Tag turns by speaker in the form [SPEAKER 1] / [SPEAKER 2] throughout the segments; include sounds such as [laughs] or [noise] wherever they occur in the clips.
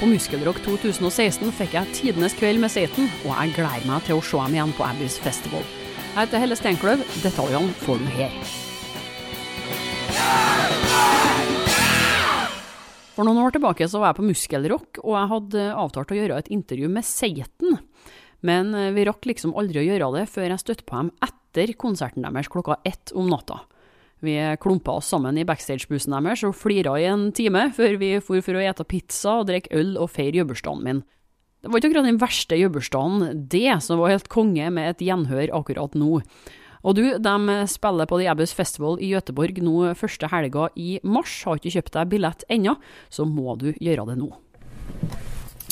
[SPEAKER 1] På Muskelrock 2016 fikk jeg tidenes kveld med Satan, og jeg gleder meg til å se dem igjen på Abbys festival. Jeg heter Helle Steinkløv, detaljene får du her. For noen år tilbake så var jeg på Muskelrock, og jeg hadde eh, avtalt å gjøre et intervju med Satan. Men vi rakk liksom aldri å gjøre det før jeg støtte på dem etter konserten deres klokka ett om natta. Vi klumpa oss sammen i backstage-bussen deres og flira i en time, før vi for for å ete pizza og drikke øl og feire jubileumsdagen min. Det var ikke akkurat den verste jubileumsdagen, det, som var helt konge med et gjenhør akkurat nå. Og du, de spiller på The Abbus Festival i Gøteborg nå første helga i mars. Har ikke kjøpt deg billett ennå, så må du gjøre det nå.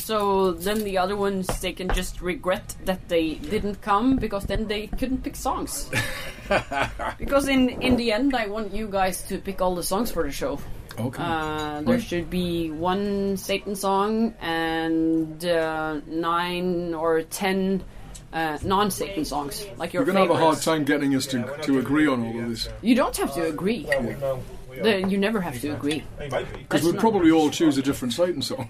[SPEAKER 1] So then the other ones they can just regret that they didn't come because then they couldn't pick songs. because in in the end I want you guys to pick all the songs for the show.
[SPEAKER 2] Okay.
[SPEAKER 1] Uh, there should be one Satan song and uh, nine or ten uh, non-Satan songs, like your
[SPEAKER 2] You're going to have a hard
[SPEAKER 1] favorites.
[SPEAKER 2] time getting us to, to agree on all of this.
[SPEAKER 1] You don't have to agree.
[SPEAKER 3] No, we
[SPEAKER 1] The- you never have to agree.
[SPEAKER 3] maybe.
[SPEAKER 2] Because we'll probably all choose a different Satan [laughs] song.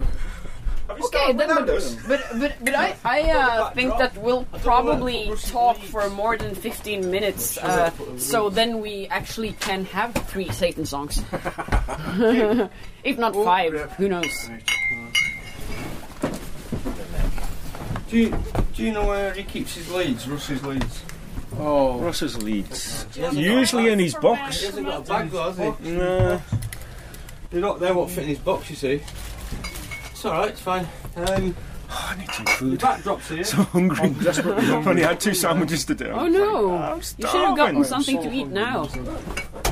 [SPEAKER 1] Okay, then, but, but but but I I uh, think that we'll probably talk for more than fifteen minutes. Uh, so then we actually can have three Satan songs, [laughs] if not five. Who knows?
[SPEAKER 4] Do you, do you know where he keeps his leads, Russ's leads?
[SPEAKER 2] Oh,
[SPEAKER 5] Russ's leads. Usually in his box.
[SPEAKER 4] hasn't got a bag though, has he?
[SPEAKER 5] No.
[SPEAKER 4] They're not, they won't fit in his box, you see. It's alright, it's fine. Um,
[SPEAKER 5] I need some
[SPEAKER 4] the
[SPEAKER 5] food.
[SPEAKER 4] backdrop's here.
[SPEAKER 5] So hungry. I've only had two sandwiches to do.
[SPEAKER 1] Oh no!
[SPEAKER 5] I'm
[SPEAKER 1] You should have gotten
[SPEAKER 5] starving.
[SPEAKER 1] something to eat now.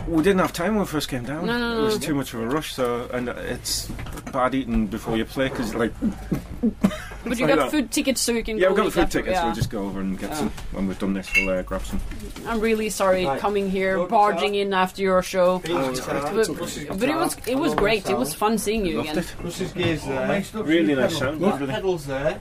[SPEAKER 5] We didn't have time when we first came down.
[SPEAKER 1] No, no, no.
[SPEAKER 5] It was too much of a rush, so and it's bad eating before you play because like
[SPEAKER 1] But you
[SPEAKER 5] Sorry,
[SPEAKER 1] got
[SPEAKER 5] no.
[SPEAKER 1] food tickets, so you can. go
[SPEAKER 5] yeah, we've got the
[SPEAKER 1] eat
[SPEAKER 5] food
[SPEAKER 1] after-
[SPEAKER 5] tickets.
[SPEAKER 1] yeah.
[SPEAKER 5] We'll just go over and get some when we've done this. We'll uh, grab some.
[SPEAKER 1] I'm really sorry
[SPEAKER 4] Right.
[SPEAKER 1] coming here,
[SPEAKER 4] Lord
[SPEAKER 1] barging
[SPEAKER 4] Sarah.
[SPEAKER 1] in after your show.
[SPEAKER 4] Russ's
[SPEAKER 1] But, but it was it was great. It was fun seeing you
[SPEAKER 5] Loved
[SPEAKER 1] again.
[SPEAKER 5] it.
[SPEAKER 4] Russ's gears there.
[SPEAKER 5] Really nice sound.
[SPEAKER 4] Look,
[SPEAKER 5] Lovely.
[SPEAKER 4] pedals there.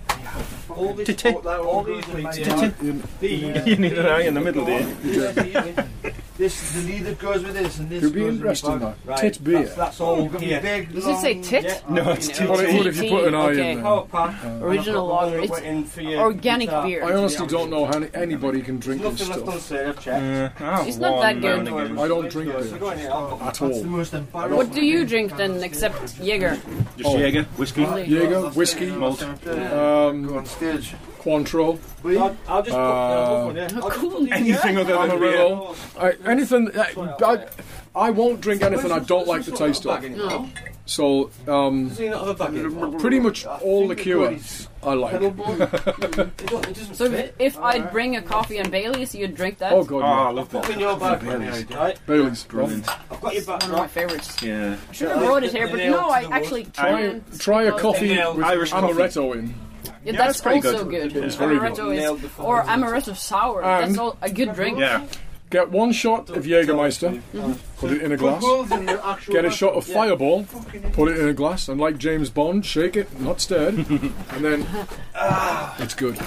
[SPEAKER 4] All this
[SPEAKER 5] Titti.
[SPEAKER 4] sport there, all these leads.
[SPEAKER 5] Titti.
[SPEAKER 2] you-
[SPEAKER 5] You need an eye [laughs] in the middle, do you?
[SPEAKER 3] This the lead that goes with this and this.
[SPEAKER 2] You'll be
[SPEAKER 3] goes with the
[SPEAKER 2] interested in
[SPEAKER 3] bag.
[SPEAKER 2] that. Tit beer.
[SPEAKER 3] That's, that's all.
[SPEAKER 4] Yeah.
[SPEAKER 3] Big,
[SPEAKER 1] Does it say
[SPEAKER 3] long-
[SPEAKER 1] tit?
[SPEAKER 3] Yeah.
[SPEAKER 5] No, it's too
[SPEAKER 2] well, it would if you put an eye
[SPEAKER 1] Okay. Oh,
[SPEAKER 2] in there.
[SPEAKER 4] Power pack.
[SPEAKER 1] Original
[SPEAKER 4] I've got the
[SPEAKER 1] lager.
[SPEAKER 4] one that
[SPEAKER 1] It's
[SPEAKER 4] went in for your
[SPEAKER 1] organic
[SPEAKER 4] guitar.
[SPEAKER 1] beer.
[SPEAKER 2] I honestly don't know how any- anybody can drink this
[SPEAKER 4] Nothing left on
[SPEAKER 2] stuff.
[SPEAKER 4] sale, I've checked.
[SPEAKER 5] Uh, I have
[SPEAKER 1] It's not that
[SPEAKER 5] one
[SPEAKER 1] good.
[SPEAKER 5] now and again.
[SPEAKER 2] I don't drink
[SPEAKER 4] So go
[SPEAKER 2] beer
[SPEAKER 4] in here, I'll put
[SPEAKER 2] at
[SPEAKER 3] That's the
[SPEAKER 2] all.
[SPEAKER 3] most embarrassing.
[SPEAKER 1] What do you drink then, except Jaeger?
[SPEAKER 5] Just Jaeger, whiskey,
[SPEAKER 2] Jaeger, whiskey,
[SPEAKER 5] malt.
[SPEAKER 2] um,
[SPEAKER 3] on stage.
[SPEAKER 2] Cointreau,
[SPEAKER 4] I'll, I'll just put
[SPEAKER 2] Uh,
[SPEAKER 4] uh, yeah. I'll just
[SPEAKER 1] cool.
[SPEAKER 4] put these-
[SPEAKER 5] Anything other than beer.
[SPEAKER 2] Amarillo. I, anything. I, I won't drink anything I don't like the taste of.
[SPEAKER 1] No.
[SPEAKER 2] So, um,
[SPEAKER 4] Does he not have a bag in?
[SPEAKER 2] pretty much all liqueur I
[SPEAKER 4] Pedal
[SPEAKER 2] like. [laughs]
[SPEAKER 4] board. it, don't, it doesn't
[SPEAKER 1] So
[SPEAKER 4] fit.
[SPEAKER 1] if, if I bring a coffee and Bailey's, you'd drink that?
[SPEAKER 2] Oh
[SPEAKER 5] Oh, I
[SPEAKER 2] god,
[SPEAKER 5] love
[SPEAKER 4] Put in
[SPEAKER 5] that.
[SPEAKER 4] your bag. Right,
[SPEAKER 2] yeah. Bailey's
[SPEAKER 5] Brilliant.
[SPEAKER 4] I've got your back.
[SPEAKER 1] One of my
[SPEAKER 4] Right.
[SPEAKER 1] favorites.
[SPEAKER 5] Yeah.
[SPEAKER 1] Should have brought it here, but no, I actually
[SPEAKER 2] Try,
[SPEAKER 1] can't.
[SPEAKER 2] try a coffee
[SPEAKER 4] Nailed
[SPEAKER 2] with
[SPEAKER 5] Irish coffee.
[SPEAKER 2] amaretto in.
[SPEAKER 1] Yeah,
[SPEAKER 5] Yeah,
[SPEAKER 1] that's
[SPEAKER 5] it's pretty
[SPEAKER 1] also good.
[SPEAKER 2] It's very good.
[SPEAKER 1] amaretto
[SPEAKER 4] Nailed the
[SPEAKER 1] is, or
[SPEAKER 4] formula.
[SPEAKER 1] amaretto sour.
[SPEAKER 2] And-
[SPEAKER 1] that's all a good drink.
[SPEAKER 5] Yeah.
[SPEAKER 2] Get one shot of Jägermeister,
[SPEAKER 4] Mm-hmm.
[SPEAKER 2] put it in a glass. Get a shot of Fireball, put it in a glass, and like James Bond, shake it, not stirred, and then it's good.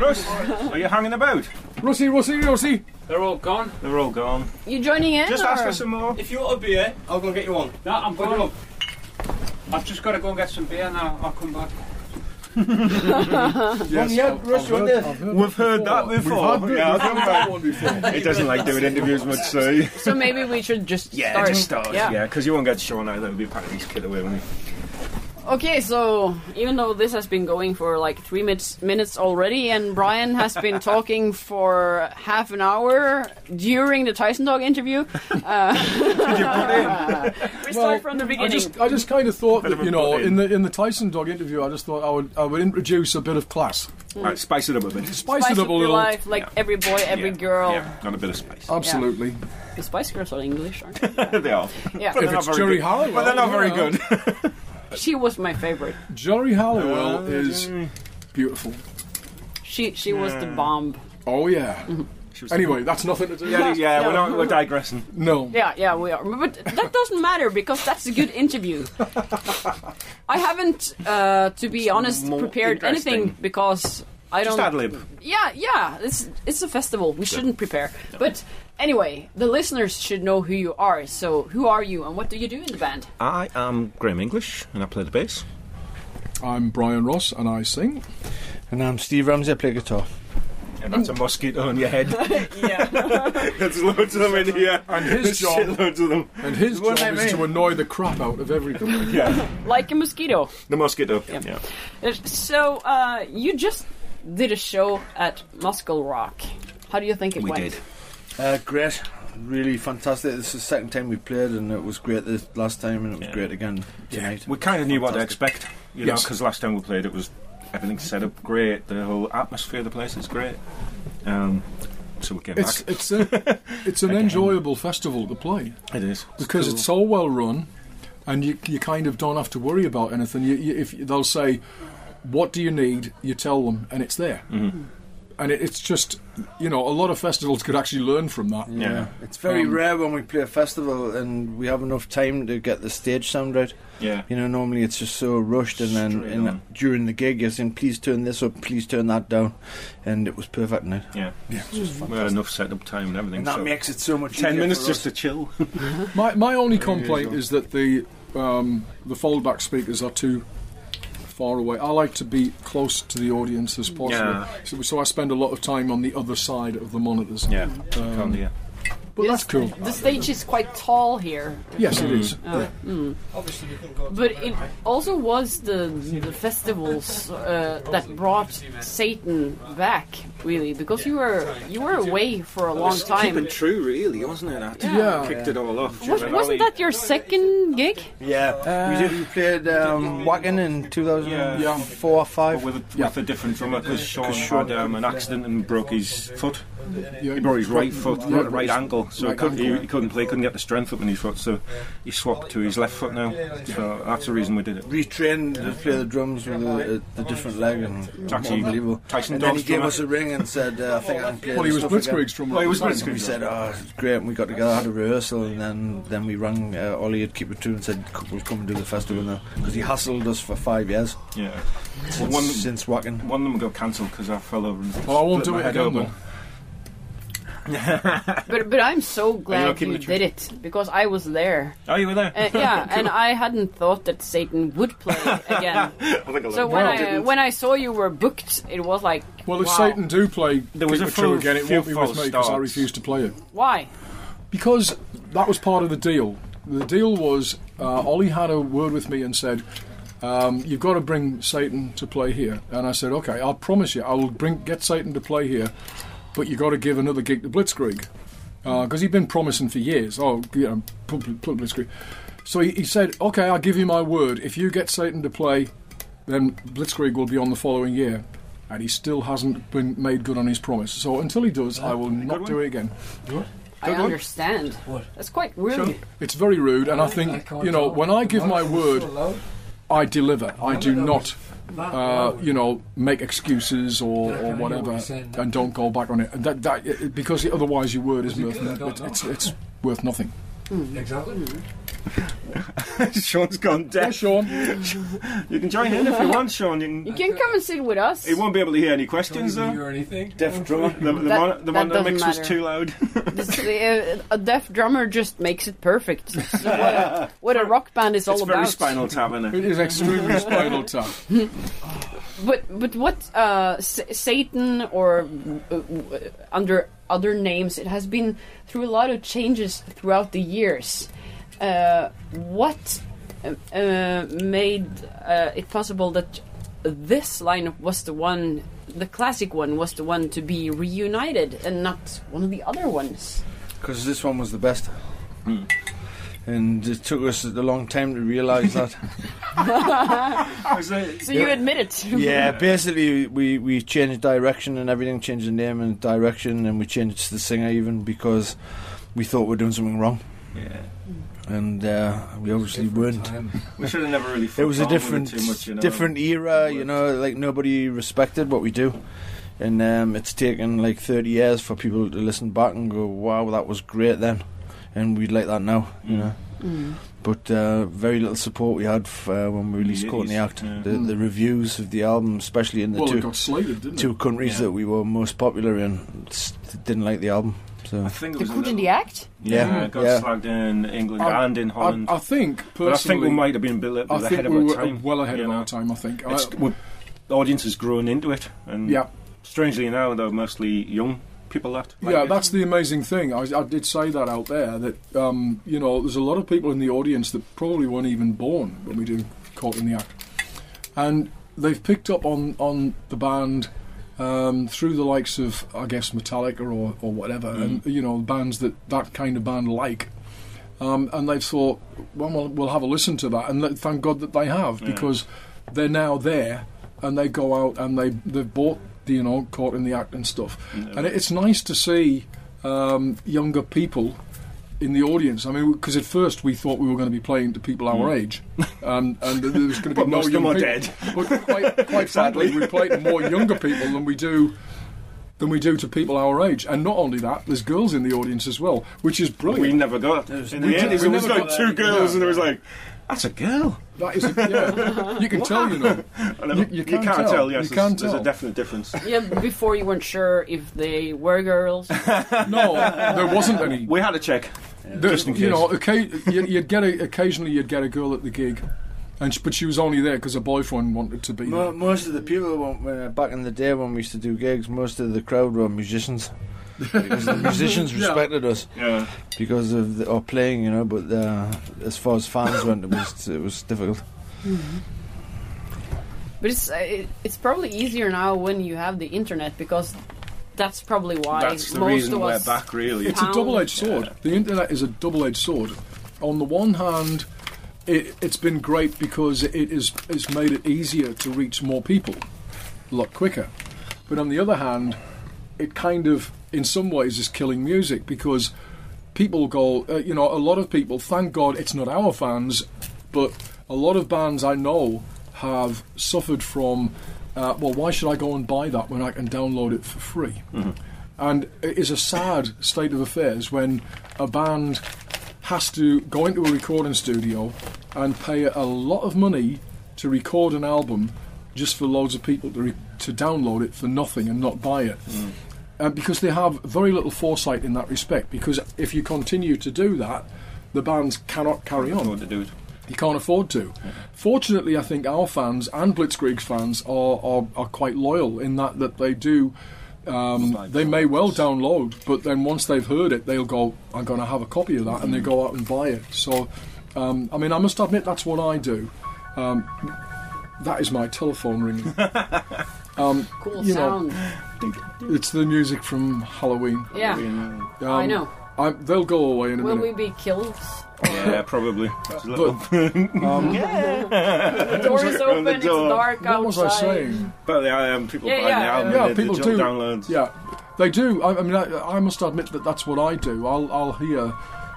[SPEAKER 5] Russ, are you hanging about?
[SPEAKER 2] Russie, Russie, Russie.
[SPEAKER 6] They're all gone.
[SPEAKER 5] They're all gone.
[SPEAKER 1] You joining in?
[SPEAKER 5] Just
[SPEAKER 1] or?
[SPEAKER 5] ask for some more.
[SPEAKER 4] If you want a beer, I'll go and get you one.
[SPEAKER 6] No, I'm
[SPEAKER 4] Put it
[SPEAKER 6] gone.
[SPEAKER 4] up.
[SPEAKER 6] I've just got to go and get some beer and I'll, I'll come back.
[SPEAKER 2] Yes,
[SPEAKER 4] yeah,
[SPEAKER 2] I've-
[SPEAKER 4] Russ,
[SPEAKER 2] I've
[SPEAKER 4] you
[SPEAKER 2] heard-
[SPEAKER 4] want this?
[SPEAKER 2] I've heard
[SPEAKER 5] We've heard that
[SPEAKER 2] I've
[SPEAKER 5] before.
[SPEAKER 2] heard-
[SPEAKER 5] Yeah,
[SPEAKER 2] I've
[SPEAKER 5] I
[SPEAKER 2] heard that one before.
[SPEAKER 5] think he doesn't like doing interviews much, so he-
[SPEAKER 1] So maybe we should just
[SPEAKER 5] yeah,
[SPEAKER 1] start.
[SPEAKER 5] just start.
[SPEAKER 1] Yeah.
[SPEAKER 5] Yeah, because you won't get Sean either. He'll be packing his kid away, won't he?
[SPEAKER 1] Okay, so even though this has been going for like three minutes, minutes already, and Brian has been talking for half an hour during the Tyson Dog interview,
[SPEAKER 5] Mm.
[SPEAKER 1] uh,
[SPEAKER 5] [laughs]
[SPEAKER 1] we start from the
[SPEAKER 2] I
[SPEAKER 1] beginning.
[SPEAKER 2] just, I just kind of thought that
[SPEAKER 5] of a
[SPEAKER 2] you know,
[SPEAKER 5] pudding.
[SPEAKER 2] in the in the Tyson dog interview, I just thought I would I would introduce a bit of class,
[SPEAKER 5] Right, spice it up a bit.
[SPEAKER 2] spice,
[SPEAKER 1] spice
[SPEAKER 2] it up
[SPEAKER 1] up
[SPEAKER 2] a
[SPEAKER 1] your
[SPEAKER 2] little.
[SPEAKER 1] life, like every boy, every
[SPEAKER 5] Yeah,
[SPEAKER 1] girl.
[SPEAKER 5] Yeah, got a bit of spice.
[SPEAKER 2] Oh. Absolutely.
[SPEAKER 1] The Spice Girls are English, aren't they?
[SPEAKER 5] [laughs] they are.
[SPEAKER 1] Yeah,
[SPEAKER 2] If
[SPEAKER 5] But they're not
[SPEAKER 2] it's
[SPEAKER 5] very
[SPEAKER 2] Jerry
[SPEAKER 5] good.
[SPEAKER 2] Halliwell,
[SPEAKER 5] But they're not very
[SPEAKER 2] yeah.
[SPEAKER 5] good.
[SPEAKER 1] she was my favorite.
[SPEAKER 2] [laughs] Jerry Halliwell
[SPEAKER 5] Uh,
[SPEAKER 2] is beautiful.
[SPEAKER 1] She she was the bomb.
[SPEAKER 2] Oh [laughs] yeah. Anyway, that's nothing to do.
[SPEAKER 5] Yeah, yeah,
[SPEAKER 1] Yeah.
[SPEAKER 5] we're, not, we're digressing.
[SPEAKER 2] No.
[SPEAKER 1] Yeah, yeah, we are. But that doesn't matter because that's a good
[SPEAKER 5] [laughs]
[SPEAKER 1] interview. I haven't, uh, to be honest,
[SPEAKER 5] more
[SPEAKER 1] prepared anything
[SPEAKER 5] interesting.
[SPEAKER 1] because I don't.
[SPEAKER 5] Just ad lib.
[SPEAKER 1] Yeah, yeah. It's it's a festival. We shouldn't prepare. But anyway, the listeners should know who you are. So, who are you and what do you do in the band?
[SPEAKER 5] I am Graham English, and I play the bass.
[SPEAKER 2] I'm Brian Ross and I sing.
[SPEAKER 4] And I'm Steve Ramsey, I play guitar.
[SPEAKER 5] And that's a mosquito on your head.
[SPEAKER 1] yeah.
[SPEAKER 5] [laughs] There's loads of them in here.
[SPEAKER 2] And his job,
[SPEAKER 5] Loads of them.
[SPEAKER 2] and his
[SPEAKER 5] What
[SPEAKER 2] job
[SPEAKER 5] I
[SPEAKER 2] is
[SPEAKER 5] mean.
[SPEAKER 2] to annoy the crap out of everybody.
[SPEAKER 5] [laughs] Yeah,
[SPEAKER 1] Like a mosquito.
[SPEAKER 5] the mosquito. Yeah.
[SPEAKER 1] So, uh, you just did a show at Muscle Rock. How do you think it
[SPEAKER 5] We
[SPEAKER 1] went?
[SPEAKER 5] did.
[SPEAKER 4] Uh, great, really fantastic. This is the second time we played, and it was great this last time, and it was
[SPEAKER 5] Yeah.
[SPEAKER 4] great again tonight.
[SPEAKER 5] We kind of knew what to
[SPEAKER 4] Fantastic.
[SPEAKER 5] expect, you know, 'cause
[SPEAKER 2] Yes.
[SPEAKER 5] because last time we played it was everything set up great, the whole atmosphere of the place is great. Um, so we came
[SPEAKER 2] It's
[SPEAKER 5] back.
[SPEAKER 2] it's a, it's an
[SPEAKER 5] Again.
[SPEAKER 2] enjoyable festival to play
[SPEAKER 5] It is.
[SPEAKER 2] because it's so well run, and you you kind of don't have to worry about anything. You, you, if they'll say, "What do you need?" you tell them, and it's there.
[SPEAKER 5] Mm-hmm.
[SPEAKER 2] And it, it's just, you know, a lot of festivals could actually learn from that.
[SPEAKER 5] Yeah.
[SPEAKER 4] It's very
[SPEAKER 2] Um,
[SPEAKER 4] rare when we play a festival and we have enough time to get the stage sound right.
[SPEAKER 5] Yeah.
[SPEAKER 4] You know, normally it's just so rushed, and then
[SPEAKER 5] Straight
[SPEAKER 4] and
[SPEAKER 5] on.
[SPEAKER 4] during the gig, you're saying, please turn this up, please turn that down. And it was perfect now.
[SPEAKER 5] Yeah.
[SPEAKER 2] Yeah.
[SPEAKER 5] We had enough setup time and everything.
[SPEAKER 4] And that
[SPEAKER 5] so
[SPEAKER 4] makes it so much
[SPEAKER 5] Ten
[SPEAKER 4] easier
[SPEAKER 5] minutes
[SPEAKER 4] for
[SPEAKER 5] just
[SPEAKER 4] us.
[SPEAKER 5] to chill.
[SPEAKER 2] My my only
[SPEAKER 4] Very
[SPEAKER 2] complaint
[SPEAKER 4] usual.
[SPEAKER 2] is that the um, the foldback speakers are too far away. I like to be close to the audience as possible,
[SPEAKER 5] Yeah.
[SPEAKER 2] so, so I spend a lot of time on the other side of the monitors.
[SPEAKER 5] yeah.
[SPEAKER 2] Um,
[SPEAKER 5] yeah.
[SPEAKER 2] but that's cool.
[SPEAKER 1] The stage is quite tall here,
[SPEAKER 2] Yes,
[SPEAKER 5] Mm.
[SPEAKER 2] it is.
[SPEAKER 1] but it also was the, the festivals uh, that brought Satan back, really, because you were you were away for a long time.
[SPEAKER 5] true, really, wasn't it? That
[SPEAKER 2] Yeah.
[SPEAKER 5] kicked it all off.
[SPEAKER 1] Was, wasn't that your second gig?
[SPEAKER 4] Yeah, we did. We played um, Wacken in 2004
[SPEAKER 2] Yeah.
[SPEAKER 4] or 5.
[SPEAKER 5] But with a,
[SPEAKER 2] Yeah.
[SPEAKER 5] with a different drummer because Sean had um, an accident and broke his foot.
[SPEAKER 2] Yeah.
[SPEAKER 5] He broke his right foot,
[SPEAKER 2] Yeah.
[SPEAKER 5] right, right ankle, so
[SPEAKER 2] Right
[SPEAKER 5] he, couldn't,
[SPEAKER 2] ankle.
[SPEAKER 5] He, he couldn't play, couldn't get the strength up in his foot, so he swapped to his left foot now. So that's the reason we did it.
[SPEAKER 4] retrained to play the drums with the, uh, the different leg and it was
[SPEAKER 5] Actually,
[SPEAKER 4] unbelievable.
[SPEAKER 5] Tyson
[SPEAKER 4] and then he
[SPEAKER 5] Dobbs
[SPEAKER 4] gave
[SPEAKER 5] drummer.
[SPEAKER 4] us a ring and said, uh, "I think I can play."
[SPEAKER 2] Well, he
[SPEAKER 4] this
[SPEAKER 2] was
[SPEAKER 4] stuff again."
[SPEAKER 2] Blitzkrieg's drummer.
[SPEAKER 5] Well, he was
[SPEAKER 2] at the
[SPEAKER 5] Blitzkrieg.
[SPEAKER 2] time.
[SPEAKER 4] We said, "Oh, it's great!" And we got together, had a rehearsal, and then then we rang uh, Ollie at Keeper Two and said, "C- "We'll come and do the festival now," because he hassled us for five years
[SPEAKER 5] Yeah. Well,
[SPEAKER 4] since,
[SPEAKER 5] one,
[SPEAKER 4] since Wacken.
[SPEAKER 5] one of them got cancelled because I fell over and
[SPEAKER 2] Well, Oh, I won't
[SPEAKER 5] split
[SPEAKER 2] do
[SPEAKER 5] my
[SPEAKER 2] it
[SPEAKER 5] head
[SPEAKER 2] again
[SPEAKER 5] open.
[SPEAKER 2] then.
[SPEAKER 1] But but I'm so glad
[SPEAKER 5] keeping
[SPEAKER 1] you
[SPEAKER 5] the truth?
[SPEAKER 1] did it because I was there.
[SPEAKER 5] Oh, you were there?
[SPEAKER 1] Uh, yeah, and I hadn't thought that Satan would play again. so when
[SPEAKER 2] Well,
[SPEAKER 1] I when I saw you were booked, it was like,
[SPEAKER 2] Well, if
[SPEAKER 1] wow.
[SPEAKER 2] Satan do play
[SPEAKER 5] There was
[SPEAKER 2] Keep
[SPEAKER 5] a
[SPEAKER 2] It True
[SPEAKER 5] few-
[SPEAKER 2] again, it
[SPEAKER 5] few
[SPEAKER 2] won't be with
[SPEAKER 5] false
[SPEAKER 2] me because I
[SPEAKER 5] starts.
[SPEAKER 2] refuse to play it.
[SPEAKER 1] Why?
[SPEAKER 2] Because that was part of the deal. The deal was uh, Ollie had a word with me and said, um, "You've got to bring Satan to play here." And I said, "Okay, I'll promise you, I will bring get Satan to play here, but you've got to give another gig to Blitzkrieg because he'd been promising for years. Oh, you know, pl- pl- pl- Blitzkrieg." So he, he said, "Okay, I'll give you my word. If you get Satan to play, then Blitzkrieg will be on the following year." And he still hasn't been made good on his promise. So until he does, I will not do it again.
[SPEAKER 1] I understand. That's quite rude.
[SPEAKER 2] It's very rude, and I think you know when I give my word, I deliver. I do not, uh, you know, make excuses or, or whatever, and don't go back on it. And that, that it- it- because otherwise your word is worth it, it's, it's worth nothing.
[SPEAKER 7] Exactly.
[SPEAKER 1] Uh,
[SPEAKER 5] [laughs] Sean's gone
[SPEAKER 2] Yeah,
[SPEAKER 5] deaf.
[SPEAKER 2] Sean.
[SPEAKER 5] You can join in if you want, Sean. You
[SPEAKER 1] You
[SPEAKER 5] can,
[SPEAKER 1] can come and sit with us.
[SPEAKER 5] he won't be able to hear any questions,
[SPEAKER 7] Don't you
[SPEAKER 5] though.
[SPEAKER 7] or anything.
[SPEAKER 4] Deaf drummer.
[SPEAKER 5] The, the,
[SPEAKER 1] That-
[SPEAKER 5] mon- the
[SPEAKER 1] that
[SPEAKER 5] monitor
[SPEAKER 1] doesn't
[SPEAKER 5] mix
[SPEAKER 1] matter.
[SPEAKER 5] was too loud.
[SPEAKER 1] This- uh, a deaf drummer just makes it perfect. So what, a, what a rock band is all
[SPEAKER 5] it's
[SPEAKER 1] about.
[SPEAKER 5] very spinal tap, isn't it?
[SPEAKER 2] It is extremely spinal
[SPEAKER 5] [laughs]
[SPEAKER 2] tap.
[SPEAKER 1] But but what uh, S- Satan or uh, w- under other names, it has been through a lot of changes throughout the years. Uh, what uh, uh, made uh, it possible that this lineup was the one, the classic one, was the one to be reunited and not one of the other ones?
[SPEAKER 4] because this one was the best. Hmm. And it took us a long time to realise that.
[SPEAKER 1] So you admit it. [laughs]
[SPEAKER 4] [laughs] yeah, basically we, we changed direction and everything, changed the name and direction, and we changed the singer even because we thought we were doing something wrong,
[SPEAKER 5] Yeah.
[SPEAKER 4] and uh, we obviously weren't.
[SPEAKER 7] Time.
[SPEAKER 5] We should have never really.
[SPEAKER 4] It was a
[SPEAKER 5] fucked on
[SPEAKER 4] different
[SPEAKER 5] with it too much, you know.
[SPEAKER 4] different era, you know, like nobody respected what we do. And um, it's taken like 30 years for people to listen back and go, wow, that was great then. And we'd like that now, you know. But uh, very little support we had f- uh, when we released
[SPEAKER 5] Yeah,
[SPEAKER 4] Caught in the
[SPEAKER 5] yeah.
[SPEAKER 4] Act. The, the reviews of the album, especially in the
[SPEAKER 2] Well, it
[SPEAKER 4] two,
[SPEAKER 2] got slated, didn't
[SPEAKER 4] two
[SPEAKER 2] it?
[SPEAKER 4] countries
[SPEAKER 5] Yeah.
[SPEAKER 4] that we were most popular in, s- didn't like the album. So
[SPEAKER 5] I think it
[SPEAKER 7] The
[SPEAKER 5] was. in
[SPEAKER 7] good in
[SPEAKER 5] the-
[SPEAKER 7] the act?
[SPEAKER 4] yeah,
[SPEAKER 5] Yeah, it got
[SPEAKER 4] yeah.
[SPEAKER 5] slagged in England
[SPEAKER 2] I-
[SPEAKER 5] and in
[SPEAKER 2] I,
[SPEAKER 5] Holland.
[SPEAKER 2] I think
[SPEAKER 5] but I think
[SPEAKER 2] personally,
[SPEAKER 5] we might have been a bit li-
[SPEAKER 2] I
[SPEAKER 5] ahead
[SPEAKER 2] think
[SPEAKER 5] of
[SPEAKER 2] we
[SPEAKER 5] our
[SPEAKER 2] were
[SPEAKER 5] time.
[SPEAKER 2] well ahead of
[SPEAKER 5] you know.
[SPEAKER 2] our time. I think. I-
[SPEAKER 5] It's, we- the audience has grown into it, and
[SPEAKER 2] yeah,
[SPEAKER 5] strangely now they're mostly young people that. like
[SPEAKER 2] yeah,
[SPEAKER 5] it.
[SPEAKER 2] that's the amazing thing. I, I did say that out there that um, you know there's a lot of people in the audience that probably weren't even born when we do Caught in the Act, and they've picked up on on the band um, through the likes of I guess Metallica or or whatever, and you know bands that that kind of band like. Um, and they've thought, well, well, we'll have a listen to that, and th- thank God that they have
[SPEAKER 5] Yeah.
[SPEAKER 2] because they're now there, and they go out and they they've bought you know Caught in the Act and stuff.
[SPEAKER 5] uh,
[SPEAKER 2] And it's nice to see um, younger people in the audience. I mean, because at first we thought we were going to be playing to people our
[SPEAKER 5] [laughs]
[SPEAKER 2] age, and, and there was going to be
[SPEAKER 5] Hmm. But
[SPEAKER 2] no
[SPEAKER 5] most of
[SPEAKER 2] young
[SPEAKER 5] them are
[SPEAKER 2] people.
[SPEAKER 5] dead.
[SPEAKER 2] But quite,
[SPEAKER 5] [laughs]
[SPEAKER 2] quite sadly, we play to more younger people than we do than we do to people our age. And not only that, there's girls in the audience as well, which is
[SPEAKER 5] we
[SPEAKER 2] brilliant.
[SPEAKER 5] never got. In
[SPEAKER 2] we
[SPEAKER 5] the end,
[SPEAKER 2] did-
[SPEAKER 5] it
[SPEAKER 2] we
[SPEAKER 5] was
[SPEAKER 2] never
[SPEAKER 5] like
[SPEAKER 2] got-
[SPEAKER 5] two girls,
[SPEAKER 2] yeah.
[SPEAKER 5] and it was like, "That's a girl."
[SPEAKER 2] that is, yeah, you can tell, you know.
[SPEAKER 5] And
[SPEAKER 2] You-
[SPEAKER 5] I'm-
[SPEAKER 2] you can't tell.
[SPEAKER 5] Yes,
[SPEAKER 2] You
[SPEAKER 5] there's,
[SPEAKER 2] can't
[SPEAKER 5] there's
[SPEAKER 2] tell.
[SPEAKER 5] a definite difference.
[SPEAKER 8] Yeah, before you weren't sure if they were girls.
[SPEAKER 2] No, there wasn't any.
[SPEAKER 5] We had a check.
[SPEAKER 2] There-
[SPEAKER 5] Just in
[SPEAKER 2] You
[SPEAKER 5] case.
[SPEAKER 2] know, okay, you'd, you'd get a, occasionally you'd get a girl at the gig, and she, but she was only there because her boyfriend wanted to be
[SPEAKER 4] Mo-
[SPEAKER 2] there.
[SPEAKER 4] most of the people when- when, uh, back in the day when we used to do gigs, most of the crowd were musicians. because the [laughs] musicians
[SPEAKER 2] Yeah.
[SPEAKER 4] respected us
[SPEAKER 5] Yeah.
[SPEAKER 4] because of the, our playing, you know. But uh, as far as fans went, it was it was difficult.
[SPEAKER 8] But it's uh, it, it's probably easier now when you have the internet because that's probably why
[SPEAKER 5] That's the
[SPEAKER 8] most
[SPEAKER 5] reason
[SPEAKER 8] of
[SPEAKER 5] we're
[SPEAKER 8] us.
[SPEAKER 5] back, really.
[SPEAKER 2] [laughs] It's a double-edged sword. The internet is a double-edged sword. On the one hand, it, it's been great because it is it's made it easier to reach more people, a lot quicker. But on the other hand, it kind of, in some ways, is killing music because people go, uh, you know, a lot of people. Thank God, it's not our fans, but a lot of bands I know have suffered from. Uh, well, why should I go and buy that when I can download it for free? and it is a sad state of affairs when a band has to go into a recording studio and pay a lot of money to record an album just for loads of people to, re- to download it for nothing and not buy it. Uh, because they have very little foresight in that respect. Because if you continue to do that, the bands cannot carry on.
[SPEAKER 5] to do it.
[SPEAKER 2] You can't afford to. Fortunately, I think our fans and Blitzkrieg's fans are, are, are quite loyal in that that they do. Um, they may well download, but then once they've heard it, they'll go, "I'm going to have a copy of that," and they go out and buy it. So, um, I mean, I must admit that's what I do. Um, that is my telephone ringing.
[SPEAKER 8] Cool
[SPEAKER 2] you know.
[SPEAKER 8] sound.
[SPEAKER 2] [laughs] it's the music from Halloween.
[SPEAKER 8] yeah,
[SPEAKER 2] Um,
[SPEAKER 8] I know.
[SPEAKER 2] I, they'll go away in a
[SPEAKER 8] Will we
[SPEAKER 2] minute.
[SPEAKER 8] be killed?
[SPEAKER 5] [laughs] Yeah, probably. It's a little-
[SPEAKER 8] The door is open.
[SPEAKER 5] the door.
[SPEAKER 8] It's dark
[SPEAKER 2] what
[SPEAKER 8] outside.
[SPEAKER 2] was I saying?
[SPEAKER 5] But yeah, um, people
[SPEAKER 8] Yeah,
[SPEAKER 5] buy
[SPEAKER 8] yeah,
[SPEAKER 5] the album.
[SPEAKER 2] yeah.
[SPEAKER 5] they-
[SPEAKER 2] people
[SPEAKER 5] they
[SPEAKER 2] do.
[SPEAKER 5] downloads.
[SPEAKER 2] Yeah, they do. I, I mean, I, I must admit that that's what I do. I'll, I'll hear,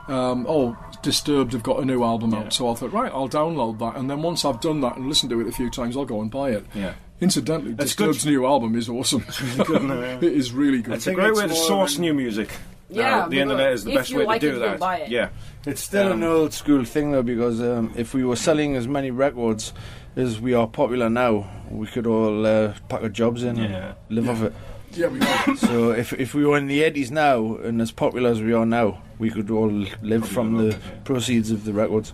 [SPEAKER 2] um, oh, Disturbed have got a new album
[SPEAKER 5] Yeah.
[SPEAKER 2] out, so I thought, right, I'll download that, and then once I've done that and listened to it a few times, I'll go and buy it.
[SPEAKER 5] Yeah. [laughs]
[SPEAKER 2] Incidentally,
[SPEAKER 5] That's good.
[SPEAKER 2] Disturbed's new album is awesome. [laughs] it is really good.
[SPEAKER 5] It's a great
[SPEAKER 4] it's
[SPEAKER 5] way to
[SPEAKER 4] more
[SPEAKER 5] source
[SPEAKER 4] than-
[SPEAKER 5] new music.
[SPEAKER 8] Yeah,
[SPEAKER 5] Uh, the internet is the
[SPEAKER 8] if
[SPEAKER 5] best
[SPEAKER 8] you
[SPEAKER 5] way
[SPEAKER 8] like
[SPEAKER 5] to
[SPEAKER 8] it,
[SPEAKER 5] do
[SPEAKER 8] you'll
[SPEAKER 5] that.
[SPEAKER 8] buy it.
[SPEAKER 5] Yeah,
[SPEAKER 4] It's still
[SPEAKER 5] Um,
[SPEAKER 4] an old school thing though, because um, if we were selling as many records as we are popular now, we could all uh, pack our jobs in
[SPEAKER 5] Yeah.
[SPEAKER 4] and live off it.
[SPEAKER 2] yeah, we do.
[SPEAKER 5] [laughs]
[SPEAKER 4] So if if we were in the eighties now and as popular as we are now, we could all live from the proceeds of the records.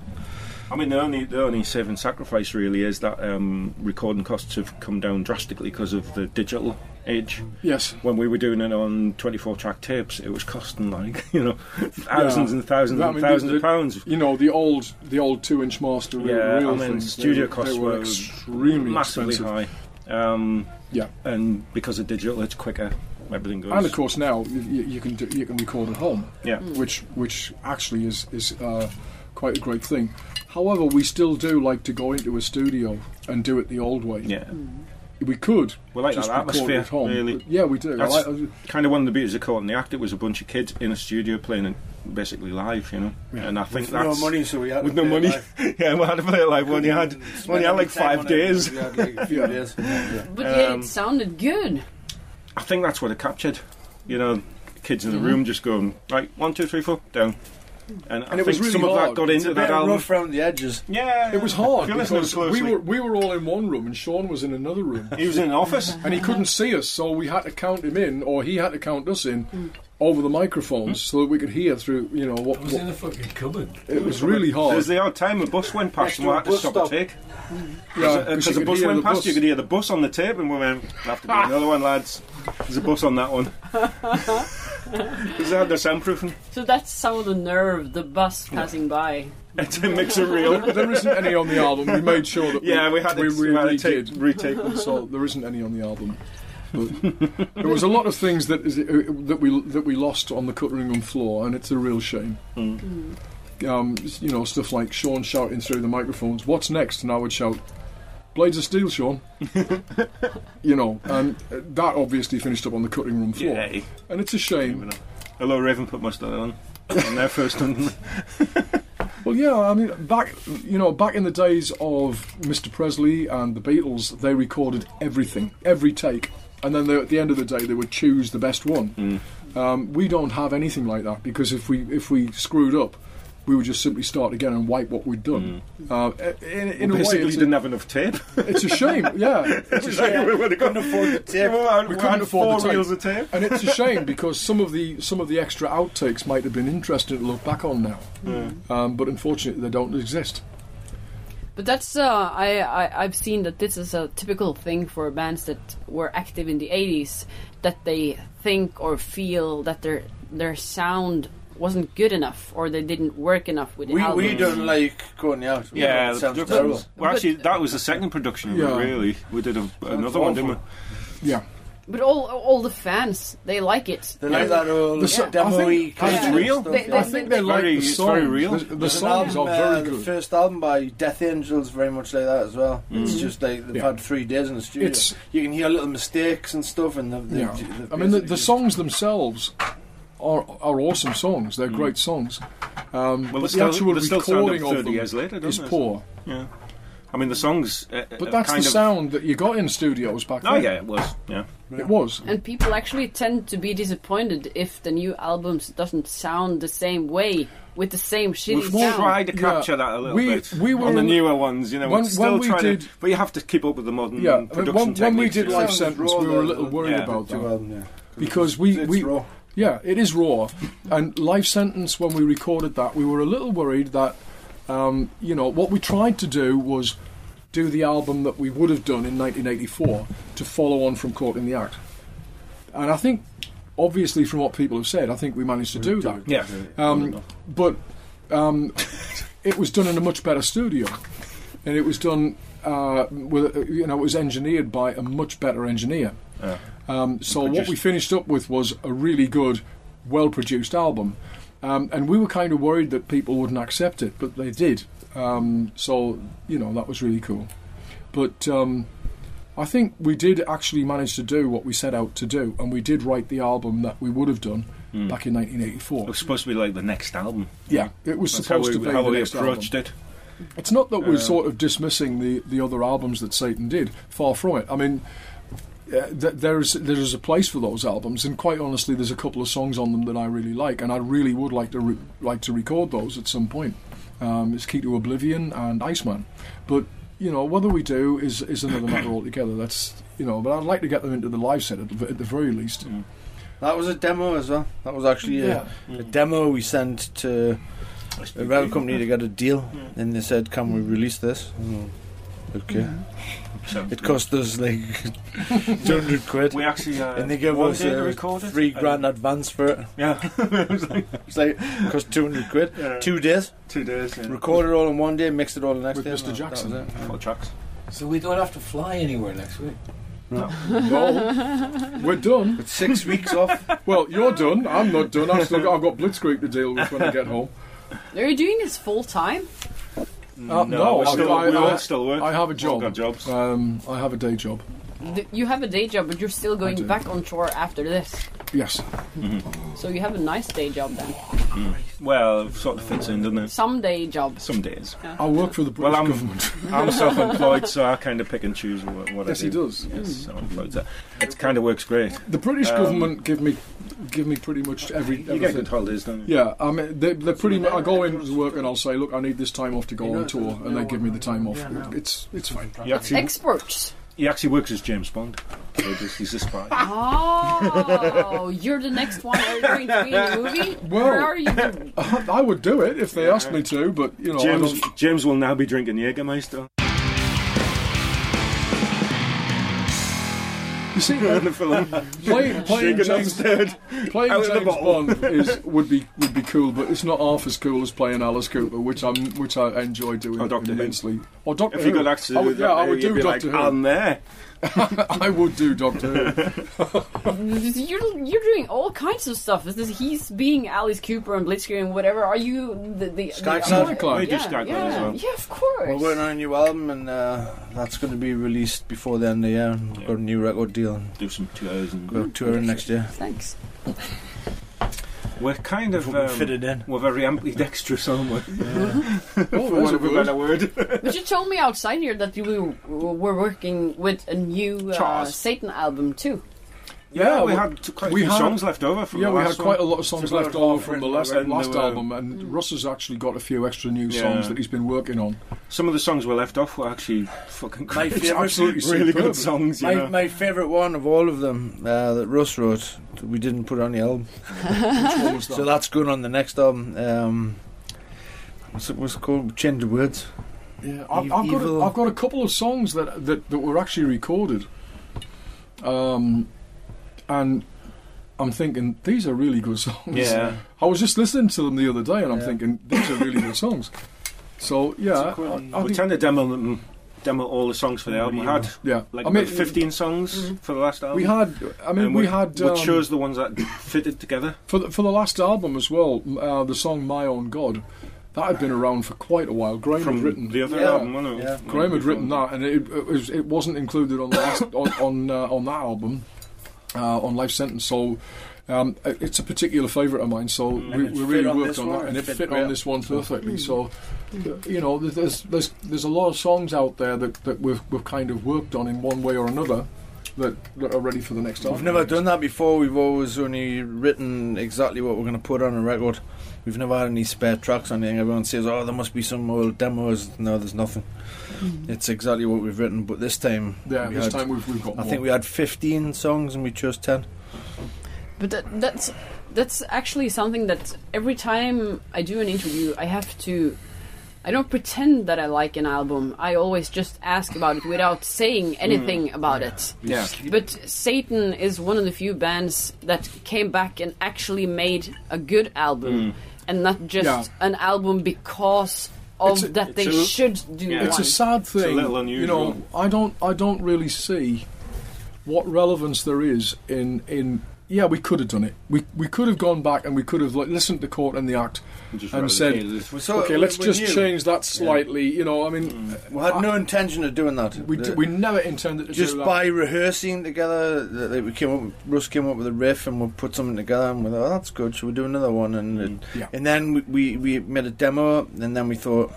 [SPEAKER 5] I mean the only the only saving sacrifice really is that um, recording costs have come down drastically because of the digital age.
[SPEAKER 2] yes.
[SPEAKER 5] When we were doing it on 24 track tapes, it was costing like [laughs] you know thousands and thousands
[SPEAKER 2] I
[SPEAKER 5] and
[SPEAKER 2] mean,
[SPEAKER 5] thousands
[SPEAKER 2] the-
[SPEAKER 5] of pounds.
[SPEAKER 2] You know the old, the old two-inch master re-
[SPEAKER 5] Yeah,
[SPEAKER 2] reel
[SPEAKER 5] I mean
[SPEAKER 2] things,
[SPEAKER 5] studio
[SPEAKER 2] they,
[SPEAKER 5] costs
[SPEAKER 2] they were,
[SPEAKER 5] were
[SPEAKER 2] extremely
[SPEAKER 5] massively
[SPEAKER 2] expensive.
[SPEAKER 5] high. Um,
[SPEAKER 2] Yeah.
[SPEAKER 5] and because of digital, it's quicker. Everything goes.
[SPEAKER 2] And Mm. of course, now you, you you can do, you can record at home.
[SPEAKER 5] Yeah.
[SPEAKER 2] Which which actually is is uh, quite a great thing. However, we still do like to go into a studio and do it the old way.
[SPEAKER 5] yeah.
[SPEAKER 2] We could.
[SPEAKER 5] We like
[SPEAKER 2] just
[SPEAKER 5] that
[SPEAKER 2] record
[SPEAKER 5] atmosphere,
[SPEAKER 2] at home.
[SPEAKER 5] really.
[SPEAKER 2] But yeah, we do. I
[SPEAKER 5] That's-
[SPEAKER 2] like-
[SPEAKER 5] kind of one of the beauties of Caught in the Act. It was a bunch of kids in a studio playing it basically live, you know. And I think that's
[SPEAKER 4] so we had
[SPEAKER 5] with no money. yeah, we had to play it live [laughs] when you had when you had like five days. [laughs]
[SPEAKER 2] Yeah.
[SPEAKER 8] But yeah,
[SPEAKER 5] Um,
[SPEAKER 8] it sounded good.
[SPEAKER 5] I think that's what it captured. You know, kids in the room just going right one, two, three, four, down. Mm-hmm. And, I
[SPEAKER 2] And it
[SPEAKER 5] think
[SPEAKER 2] was really
[SPEAKER 5] some of
[SPEAKER 2] hard.
[SPEAKER 5] that got
[SPEAKER 2] It's
[SPEAKER 5] into that album.
[SPEAKER 4] rough around the edges.
[SPEAKER 5] Yeah,
[SPEAKER 2] it was hard
[SPEAKER 5] [laughs] If you listen
[SPEAKER 2] because we
[SPEAKER 5] closely.
[SPEAKER 2] were we were all in one room and Sean was in another room.
[SPEAKER 5] He was in an office. Hmm.
[SPEAKER 2] And he couldn't see us, so we had to count him in, or he had to count us in, over the microphones so that we could hear through, you know, what,
[SPEAKER 7] I was
[SPEAKER 2] what
[SPEAKER 7] in a fucking cupboard.
[SPEAKER 2] it was [laughs] really
[SPEAKER 5] There
[SPEAKER 2] hard.
[SPEAKER 5] was the odd time a bus
[SPEAKER 9] Next
[SPEAKER 5] went past and
[SPEAKER 9] to
[SPEAKER 5] we
[SPEAKER 9] a
[SPEAKER 5] had to
[SPEAKER 9] bus
[SPEAKER 5] stop
[SPEAKER 9] stop.
[SPEAKER 5] a take.
[SPEAKER 2] Yeah,
[SPEAKER 5] Because
[SPEAKER 2] you
[SPEAKER 5] the
[SPEAKER 2] could
[SPEAKER 5] bus
[SPEAKER 2] hear
[SPEAKER 5] went
[SPEAKER 2] the
[SPEAKER 5] past,
[SPEAKER 2] bus.
[SPEAKER 5] you could hear the bus on the tape, and we went, "There'll have to be another one, lads. There's a bus on
[SPEAKER 2] [laughs]
[SPEAKER 5] that one. Because they had the soundproofing. [laughs]
[SPEAKER 8] So that's some of the nerve, the bus passing by.
[SPEAKER 5] And to mix it real.
[SPEAKER 2] There isn't any on the album. We made sure that
[SPEAKER 5] Yeah, we had to
[SPEAKER 2] we,
[SPEAKER 5] we had to take,
[SPEAKER 2] redid.
[SPEAKER 5] retake them.
[SPEAKER 2] so there isn't any on the album. But there was a lot of things that is, uh, that we that we lost on the cutting room floor, and it's a real shame. Um, s- you know, stuff like Sean shouting through the microphones, "What's next?" and I would shout, "Blades of Steel, Sean." you know, and uh, that obviously finished up on the cutting room floor,
[SPEAKER 5] Yeah.
[SPEAKER 2] and it's a shame.
[SPEAKER 5] Hello, Raven put mustard on. On their first one.
[SPEAKER 2] Well, yeah, I mean, back you know, back in the days of Mr. Presley and the Beatles, they recorded everything, every take, and then they, at the end of the day, they would choose the best one. Um, we don't have anything like that because if we if we screwed up, we would just simply start again and wipe what we'd done. Uh, in in a way,
[SPEAKER 5] Basically,
[SPEAKER 2] it's
[SPEAKER 5] didn't
[SPEAKER 2] a,
[SPEAKER 5] have enough tape. [laughs]
[SPEAKER 2] it's a [laughs] shame. Yeah, it's a shame.
[SPEAKER 5] we couldn't afford the tape. We had,
[SPEAKER 2] We
[SPEAKER 5] we
[SPEAKER 2] couldn't
[SPEAKER 5] had
[SPEAKER 2] afford
[SPEAKER 5] four
[SPEAKER 2] the tape.
[SPEAKER 5] reels of tape.
[SPEAKER 2] and it's a shame because some of the some of the extra outtakes might have been interesting to look back on now, um, but unfortunately, they don't exist.
[SPEAKER 8] But that's uh, I, I I've seen that this is a typical thing for bands that were active in the '80s that they think or feel that their their sound wasn't good enough or they didn't work enough with the
[SPEAKER 4] We,
[SPEAKER 8] albums.
[SPEAKER 4] we don't like going out. We
[SPEAKER 5] Yeah,
[SPEAKER 4] think it sounds
[SPEAKER 5] the production.
[SPEAKER 4] terrible.
[SPEAKER 5] Well, actually, that was the second production. of it,
[SPEAKER 2] Yeah.
[SPEAKER 5] Really, we did a, another one, didn't we?
[SPEAKER 2] Yeah.
[SPEAKER 8] But all all the fans they like it.
[SPEAKER 4] They like that old
[SPEAKER 2] The so- I
[SPEAKER 4] demo-y
[SPEAKER 2] think-
[SPEAKER 4] kind
[SPEAKER 5] It's
[SPEAKER 4] of
[SPEAKER 5] real.
[SPEAKER 4] stuff,
[SPEAKER 8] They-
[SPEAKER 4] yeah.
[SPEAKER 8] they-
[SPEAKER 2] I think they
[SPEAKER 5] It's
[SPEAKER 2] like
[SPEAKER 5] very-
[SPEAKER 2] the
[SPEAKER 5] it's
[SPEAKER 2] songs.
[SPEAKER 5] very real.
[SPEAKER 2] The, the
[SPEAKER 4] There's an
[SPEAKER 2] songs
[SPEAKER 4] album,
[SPEAKER 2] are very
[SPEAKER 4] uh, The
[SPEAKER 2] good.
[SPEAKER 4] first album by Death Angels very much like that as well. It's just like they've
[SPEAKER 2] Mm. Yeah.
[SPEAKER 4] had three days in the studio.
[SPEAKER 2] It's-
[SPEAKER 4] you can hear little mistakes and stuff, and they've,
[SPEAKER 2] Yeah.
[SPEAKER 4] they've- they've
[SPEAKER 2] I mean, the, the
[SPEAKER 4] basically-
[SPEAKER 2] songs themselves are are awesome songs. They're great songs. Um,
[SPEAKER 5] Mm. Well,
[SPEAKER 2] but
[SPEAKER 5] they
[SPEAKER 2] the
[SPEAKER 5] still,
[SPEAKER 2] actual
[SPEAKER 5] they still sound up
[SPEAKER 2] recording of
[SPEAKER 5] 30
[SPEAKER 2] them
[SPEAKER 5] years later, don't
[SPEAKER 2] is
[SPEAKER 5] they?
[SPEAKER 2] poor.
[SPEAKER 5] Yeah. I mean, the songs. Uh,
[SPEAKER 2] But
[SPEAKER 5] uh,
[SPEAKER 2] that's the
[SPEAKER 5] kind of,
[SPEAKER 2] sound that you got in studios back
[SPEAKER 5] Oh,
[SPEAKER 2] then.
[SPEAKER 5] yeah, it was. Yeah.
[SPEAKER 2] It was.
[SPEAKER 8] And people actually tend to be disappointed if the new albums doesn't sound the same way with the same shitty
[SPEAKER 5] We've
[SPEAKER 8] sound.
[SPEAKER 5] tried to
[SPEAKER 2] Yeah.
[SPEAKER 5] capture that a little
[SPEAKER 2] We-
[SPEAKER 5] bit
[SPEAKER 2] we were
[SPEAKER 5] on the
[SPEAKER 2] in-
[SPEAKER 5] newer ones, you know.
[SPEAKER 2] when-
[SPEAKER 5] we're still
[SPEAKER 2] when we
[SPEAKER 5] trying
[SPEAKER 2] did-
[SPEAKER 5] to, but you have to keep up with the modern
[SPEAKER 2] Yeah, I mean,
[SPEAKER 5] production
[SPEAKER 2] when, when we
[SPEAKER 5] techniques,
[SPEAKER 2] did
[SPEAKER 5] you know.
[SPEAKER 2] Life
[SPEAKER 4] Sounds
[SPEAKER 2] Sentence,
[SPEAKER 4] raw,
[SPEAKER 2] we were a
[SPEAKER 4] though,
[SPEAKER 2] little worried
[SPEAKER 5] yeah,
[SPEAKER 2] about
[SPEAKER 4] Two
[SPEAKER 2] that
[SPEAKER 4] album, yeah.
[SPEAKER 2] because we
[SPEAKER 4] It's
[SPEAKER 2] we
[SPEAKER 4] raw.
[SPEAKER 2] yeah, it is raw. and Life Sentence, when we recorded that, we were a little worried that um, you know what we tried to do was do the album that we would have done in 1984 to follow on from Caught in the Act. And I think, obviously, from what people have said, I think we managed to do that.
[SPEAKER 5] Yeah. Mm.
[SPEAKER 2] Um, but um, it was done in a much better studio, and it was done uh, with you know it was engineered by a much better engineer.
[SPEAKER 5] Yeah.
[SPEAKER 2] Um, so what
[SPEAKER 5] Produced.
[SPEAKER 2] we finished up with was a really good, well-produced album, um, and we were kind of worried that people wouldn't accept it, but they did. Um, so you know that was really cool, but. Um, I think we did actually manage to do what we set out to do, and we did write the album that we would have done
[SPEAKER 5] Hmm.
[SPEAKER 2] back in 1984.
[SPEAKER 5] It was supposed to be like the next album.
[SPEAKER 2] Yeah, it was
[SPEAKER 5] That's how
[SPEAKER 2] supposed
[SPEAKER 5] we,
[SPEAKER 2] to be
[SPEAKER 5] how
[SPEAKER 2] the
[SPEAKER 5] we
[SPEAKER 2] next
[SPEAKER 5] approached
[SPEAKER 2] album.
[SPEAKER 5] it.
[SPEAKER 2] It's not that we're sort of dismissing the, the other albums that Satan did. Far from it. I mean, uh, th- there's there's a place for those albums, and quite honestly, there's a couple of songs on them that I really like, and I really would like to re- like to record those at some point. Um, it's Key to Oblivion and Iceman, but you know whether we do is is another
[SPEAKER 5] [coughs]
[SPEAKER 2] matter altogether. That's you know, but I'd like to get them into the live set at the, at the very least.
[SPEAKER 5] Mm.
[SPEAKER 4] That was a demo as well. That was actually a, a demo we sent to a rail company to get a deal,
[SPEAKER 5] Mm.
[SPEAKER 4] and they said, "Can we release this?" And we- Okay.
[SPEAKER 2] Mm.
[SPEAKER 5] So-
[SPEAKER 4] It cost us like [laughs] 200 quid,
[SPEAKER 5] We actually uh,
[SPEAKER 4] and they gave
[SPEAKER 5] one
[SPEAKER 4] us
[SPEAKER 5] day to
[SPEAKER 4] a
[SPEAKER 5] record it.
[SPEAKER 4] three
[SPEAKER 5] and-
[SPEAKER 4] grand advance for it.
[SPEAKER 5] Yeah, it was like
[SPEAKER 4] It's like it cost 200 quid,
[SPEAKER 5] Yeah.
[SPEAKER 4] two days.
[SPEAKER 5] [laughs] two days. Yeah.
[SPEAKER 4] Recorded all in one day, mixed it all the next
[SPEAKER 2] With
[SPEAKER 4] day.
[SPEAKER 2] Mr.
[SPEAKER 4] and that-
[SPEAKER 2] Jackson.
[SPEAKER 4] that was it.
[SPEAKER 5] Four tracks.
[SPEAKER 7] So we don't have to fly anywhere next week.
[SPEAKER 2] No, we're done.
[SPEAKER 4] It's
[SPEAKER 5] [laughs]
[SPEAKER 4] six weeks off.
[SPEAKER 2] Well, you're done. I'm not done. I've still got, I've got Blitzkrieg to deal with when I get home.
[SPEAKER 8] Are you doing this full time?
[SPEAKER 2] Uh, no,
[SPEAKER 5] Mm, we're
[SPEAKER 2] I-
[SPEAKER 5] still,
[SPEAKER 2] I-
[SPEAKER 5] we all
[SPEAKER 2] I-
[SPEAKER 5] still work.
[SPEAKER 2] I have a
[SPEAKER 5] We've all
[SPEAKER 2] job.
[SPEAKER 5] got jobs.
[SPEAKER 2] Um, I have a day job.
[SPEAKER 8] Th- You have a day job, but you're still
[SPEAKER 2] do.
[SPEAKER 8] going back on tour after this.
[SPEAKER 2] Yes.
[SPEAKER 8] So you have a nice day job then.
[SPEAKER 5] well, it sort of fits in, doesn't it?
[SPEAKER 8] Some day jobs.
[SPEAKER 5] Some days.
[SPEAKER 2] I work for the British
[SPEAKER 5] Well, I'm- [laughs]
[SPEAKER 2] government.
[SPEAKER 5] I'm self-employed, so I kind of pick and choose what, what
[SPEAKER 2] Yes,
[SPEAKER 5] I
[SPEAKER 2] he
[SPEAKER 5] do.
[SPEAKER 2] does. Mm.
[SPEAKER 5] Yes, self-employed. So it kind of works great.
[SPEAKER 2] The British
[SPEAKER 5] Um,
[SPEAKER 2] government give me give me pretty much every
[SPEAKER 5] You get good
[SPEAKER 2] everything.
[SPEAKER 5] holidays, don't you?
[SPEAKER 2] Yeah, I mean, they, they're pretty. mu- I go into work and I'll say, look, I need this time off to go on tour,
[SPEAKER 5] [laughs]
[SPEAKER 2] and they give me the time off. It's it's fine.
[SPEAKER 5] He actually,
[SPEAKER 8] Experts.
[SPEAKER 5] he actually works as James Bond. So just, he's a
[SPEAKER 2] [laughs]
[SPEAKER 5] spy.
[SPEAKER 1] [laughs] Oh, you're the next one. Are you going to be in the
[SPEAKER 5] [laughs]
[SPEAKER 1] movie?
[SPEAKER 2] Well-
[SPEAKER 1] Where are you? [laughs]
[SPEAKER 2] I would do it if they asked me to, but you know, I
[SPEAKER 5] James,
[SPEAKER 2] don't.
[SPEAKER 5] James will now be drinking Jägermeister. [laughs]
[SPEAKER 2] You see,
[SPEAKER 5] in the film.
[SPEAKER 2] play, playing
[SPEAKER 5] Shaken
[SPEAKER 2] James,
[SPEAKER 5] upstairs. Out
[SPEAKER 2] playing
[SPEAKER 5] of the
[SPEAKER 2] James
[SPEAKER 5] bottle.
[SPEAKER 2] Bond is would be would be cool, but it's not half as cool as playing Alice Cooper, which I'm which I enjoy doing
[SPEAKER 5] Or Doctor Who.
[SPEAKER 2] immensely. Or Doctor
[SPEAKER 5] If you
[SPEAKER 2] Who.
[SPEAKER 5] got access
[SPEAKER 2] I
[SPEAKER 5] to
[SPEAKER 2] would, Oh, yeah, I would
[SPEAKER 5] you'd
[SPEAKER 2] do
[SPEAKER 5] be
[SPEAKER 2] Doctor
[SPEAKER 5] like, um,
[SPEAKER 2] Who.
[SPEAKER 5] I'm there.
[SPEAKER 2] [laughs] I would do Doctor
[SPEAKER 5] [laughs]
[SPEAKER 2] Who.
[SPEAKER 1] You're you're doing all kinds of stuff. This is, he's being Alice Cooper and Blitzkrieg and whatever. Are you the the
[SPEAKER 4] Sky
[SPEAKER 1] the-
[SPEAKER 4] Club?
[SPEAKER 1] Yeah,
[SPEAKER 2] Sky
[SPEAKER 5] We do
[SPEAKER 1] yeah,
[SPEAKER 5] Sky Club
[SPEAKER 1] yeah,
[SPEAKER 5] as well.
[SPEAKER 1] Yeah, of course.
[SPEAKER 4] We're working on a new album, and uh, that's going to be released before the end of the year. and We've got a new record deal, and
[SPEAKER 5] Do some tours and
[SPEAKER 4] go touring next year.
[SPEAKER 1] Thanks.
[SPEAKER 5] We're kind
[SPEAKER 4] If
[SPEAKER 5] of
[SPEAKER 4] we can
[SPEAKER 5] um,
[SPEAKER 4] fit it in.
[SPEAKER 5] we're very ambidextrous, aren't we?
[SPEAKER 2] Oh,
[SPEAKER 5] For
[SPEAKER 2] there's
[SPEAKER 5] want
[SPEAKER 2] a
[SPEAKER 5] of a
[SPEAKER 2] word.
[SPEAKER 5] better word.
[SPEAKER 1] But you told me outside here that you were working with a new uh,
[SPEAKER 5] Charles.
[SPEAKER 1] Satan album too.
[SPEAKER 5] Yeah, we
[SPEAKER 2] well,
[SPEAKER 5] had t- quite a
[SPEAKER 2] we
[SPEAKER 5] few
[SPEAKER 2] had-
[SPEAKER 5] songs left over from
[SPEAKER 2] Yeah,
[SPEAKER 5] the
[SPEAKER 2] we
[SPEAKER 5] last
[SPEAKER 2] had quite a
[SPEAKER 5] one.
[SPEAKER 2] lot of songs
[SPEAKER 5] There's
[SPEAKER 2] left
[SPEAKER 5] a lot
[SPEAKER 2] over
[SPEAKER 5] of
[SPEAKER 2] from the
[SPEAKER 5] written
[SPEAKER 2] last,
[SPEAKER 5] around
[SPEAKER 2] last
[SPEAKER 5] the-
[SPEAKER 2] album, and Russ has actually got a few extra new
[SPEAKER 5] Yeah.
[SPEAKER 2] songs that he's been working on.
[SPEAKER 5] Some of the songs were left off were actually fucking
[SPEAKER 4] My
[SPEAKER 5] great.
[SPEAKER 4] favourite-
[SPEAKER 5] absolutely
[SPEAKER 2] Absolutely
[SPEAKER 5] [laughs] really
[SPEAKER 2] superb.
[SPEAKER 5] good songs. You
[SPEAKER 4] My,
[SPEAKER 5] know.
[SPEAKER 4] my favourite one of all of them uh, that Russ wrote, that we didn't put on the album.
[SPEAKER 2] Which one was that?
[SPEAKER 4] So [laughs] that's going on the next album. Um, what's it, what's it called? Change the words.
[SPEAKER 5] E
[SPEAKER 2] Yeah, I've,
[SPEAKER 4] Ev-
[SPEAKER 2] I've, got
[SPEAKER 4] evil.
[SPEAKER 2] a, I've got a couple of songs that that, that were actually recorded, um, and I'm thinking these are really good [laughs] songs.
[SPEAKER 5] yeah,
[SPEAKER 2] I was just listening to them the other day, and I'm
[SPEAKER 4] Yeah.
[SPEAKER 2] thinking these are really good
[SPEAKER 5] [laughs]
[SPEAKER 2] songs. So yeah, I, I
[SPEAKER 5] we
[SPEAKER 2] think-
[SPEAKER 5] tend to demo them, demo all the songs for the album. We had
[SPEAKER 2] yeah.
[SPEAKER 5] like
[SPEAKER 2] I mean, mm-hmm.
[SPEAKER 5] about fifteen songs for the last album.
[SPEAKER 2] we had. I mean,
[SPEAKER 5] And
[SPEAKER 2] we had.
[SPEAKER 5] we
[SPEAKER 2] Um,
[SPEAKER 5] chose the ones that [coughs] fitted together.
[SPEAKER 2] for the, for the last album as well. m- Uh, the song "My Own God," that had been around for quite a while. Graham
[SPEAKER 5] from
[SPEAKER 2] had written
[SPEAKER 5] the other
[SPEAKER 4] Yeah.
[SPEAKER 5] album, wasn't it?
[SPEAKER 4] Yeah.
[SPEAKER 2] Graham had written that, and it, it, was, it wasn't included on the
[SPEAKER 4] [coughs]
[SPEAKER 2] last, on on, uh, on that album, uh, on Life Sentence. So um, it- it's a particular favourite of mine. So
[SPEAKER 5] Mm.
[SPEAKER 2] we,
[SPEAKER 4] it
[SPEAKER 2] we
[SPEAKER 4] fit
[SPEAKER 2] really
[SPEAKER 4] on
[SPEAKER 2] worked
[SPEAKER 4] this
[SPEAKER 2] on
[SPEAKER 4] one,
[SPEAKER 2] that, and
[SPEAKER 4] it
[SPEAKER 2] it
[SPEAKER 4] fit Mm.
[SPEAKER 2] fit
[SPEAKER 4] well.
[SPEAKER 2] on this one perfectly. So uh, you know, there's there's there's a lot of songs out there that, that we've we've kind of worked on in one way or another. That, that are ready for the next
[SPEAKER 4] We've
[SPEAKER 2] album.
[SPEAKER 4] never done that before. We've always only written exactly what we're going to put on a record. We've never had any spare tracks on anything. Everyone says, "Oh, there must be some old demos." No, there's nothing. It's exactly what we've written. But this time,
[SPEAKER 2] Yeah,
[SPEAKER 4] we
[SPEAKER 2] this
[SPEAKER 4] had-
[SPEAKER 2] time we've, we've got
[SPEAKER 4] I
[SPEAKER 2] more.
[SPEAKER 4] think we had 15 songs and we chose 10.
[SPEAKER 1] But that, that's that's actually something that every time I do an interview, I have to. I don't pretend that I like an album. I always just ask about it without saying anything about it.
[SPEAKER 5] Yeah.
[SPEAKER 1] But Satan is one of the few bands that came back and actually made a good album, and not just
[SPEAKER 2] Yeah.
[SPEAKER 1] an album because of
[SPEAKER 2] It's a-
[SPEAKER 1] that they
[SPEAKER 5] it's a-
[SPEAKER 1] should do
[SPEAKER 5] yeah.
[SPEAKER 2] it's
[SPEAKER 1] one.
[SPEAKER 2] a sad thing.
[SPEAKER 5] a little
[SPEAKER 2] You know,
[SPEAKER 5] unusual.
[SPEAKER 2] I don't I don't really see what relevance there is in in. Yeah, we could have done it. We we could have gone back and we could have like, listened to Court and the Act.
[SPEAKER 5] Just
[SPEAKER 2] And
[SPEAKER 5] rather
[SPEAKER 2] said-
[SPEAKER 5] than this.
[SPEAKER 4] So
[SPEAKER 2] okay,
[SPEAKER 4] we-
[SPEAKER 2] let's
[SPEAKER 4] we
[SPEAKER 2] just
[SPEAKER 4] knew.
[SPEAKER 2] change that slightly. You know, I mean,
[SPEAKER 4] We had no intention of doing that.
[SPEAKER 2] we d-
[SPEAKER 4] The-
[SPEAKER 2] we never intended to
[SPEAKER 4] just
[SPEAKER 2] do that.
[SPEAKER 4] by rehearsing together, th- like we came up. Russ came up with a riff, and we put something together, and we thought, "Oh, that's good. Should we do another one?" And
[SPEAKER 5] Mm,
[SPEAKER 4] and,
[SPEAKER 2] Yeah.
[SPEAKER 4] and then we, we we made a demo, and then we thought,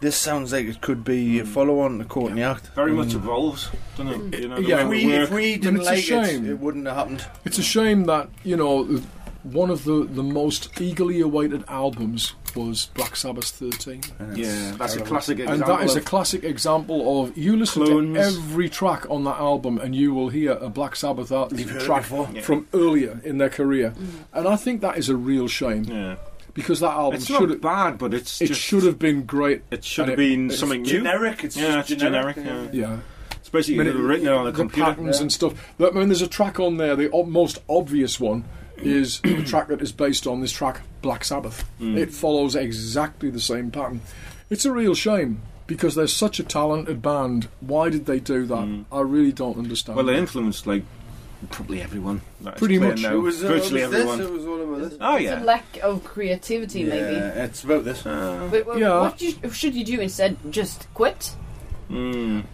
[SPEAKER 4] "This sounds like it could be a follow-on to Courtney Act."
[SPEAKER 5] Mm. very much
[SPEAKER 4] And
[SPEAKER 5] evolves, doesn't it? You know, the
[SPEAKER 2] Mm. Yeah.
[SPEAKER 5] way
[SPEAKER 4] if we
[SPEAKER 5] we
[SPEAKER 4] if
[SPEAKER 5] work.
[SPEAKER 4] we
[SPEAKER 2] And
[SPEAKER 4] didn't
[SPEAKER 2] it's a
[SPEAKER 4] like it,
[SPEAKER 2] shame.
[SPEAKER 4] it wouldn't have happened.
[SPEAKER 2] It's a shame that you know one of the the most eagerly awaited albums was Black Sabbath's Thirteen.
[SPEAKER 5] yeah, that's a classic
[SPEAKER 2] And
[SPEAKER 5] example.
[SPEAKER 2] that is a
[SPEAKER 5] of-
[SPEAKER 2] classic example of you listen
[SPEAKER 5] Clones.
[SPEAKER 2] to every track on that album, and you will hear a Black Sabbath al- track
[SPEAKER 5] Yeah.
[SPEAKER 2] from earlier in their career, and I think that is a real shame
[SPEAKER 5] yeah.
[SPEAKER 2] because that album
[SPEAKER 5] It's
[SPEAKER 2] should
[SPEAKER 5] not
[SPEAKER 2] have,
[SPEAKER 5] bad, but it's
[SPEAKER 2] it
[SPEAKER 5] just,
[SPEAKER 2] should have been great.
[SPEAKER 5] it should
[SPEAKER 2] and
[SPEAKER 5] have
[SPEAKER 2] it-
[SPEAKER 5] been
[SPEAKER 2] it's
[SPEAKER 5] something new.
[SPEAKER 4] generic, it's
[SPEAKER 5] yeah,
[SPEAKER 4] just
[SPEAKER 5] it's
[SPEAKER 4] generic,
[SPEAKER 5] generic.
[SPEAKER 4] yeah.
[SPEAKER 5] yeah.
[SPEAKER 2] Yeah,
[SPEAKER 5] Especially
[SPEAKER 2] I mean,
[SPEAKER 5] if
[SPEAKER 2] it-
[SPEAKER 5] it were written on the,
[SPEAKER 2] the
[SPEAKER 5] computer.
[SPEAKER 2] patterns and stuff. Look, I mean, there's a track on there. The ob- most obvious one is [clears throat] the track that is based on this track, Black Sabbath. It follows exactly the same pattern. It's a real shame. Because they're such a talented band, why did they do that? I really don't understand.
[SPEAKER 5] Well, they influenced like probably everyone. that is
[SPEAKER 2] Pretty
[SPEAKER 5] playing
[SPEAKER 2] much.
[SPEAKER 5] now.
[SPEAKER 2] It
[SPEAKER 5] virtually everyone.
[SPEAKER 4] It was all about this.
[SPEAKER 5] oh
[SPEAKER 1] It's a
[SPEAKER 5] yeah.
[SPEAKER 1] lack of creativity, maybe.
[SPEAKER 4] Yeah, it's about this.
[SPEAKER 5] Uh,
[SPEAKER 1] But, well,
[SPEAKER 2] Yeah.
[SPEAKER 1] What you, should you do instead? Just quit?
[SPEAKER 5] mm,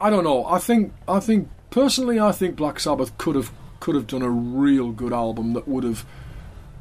[SPEAKER 2] I don't know. I think I think personally, I think Black Sabbath could have could have done a real good album that would have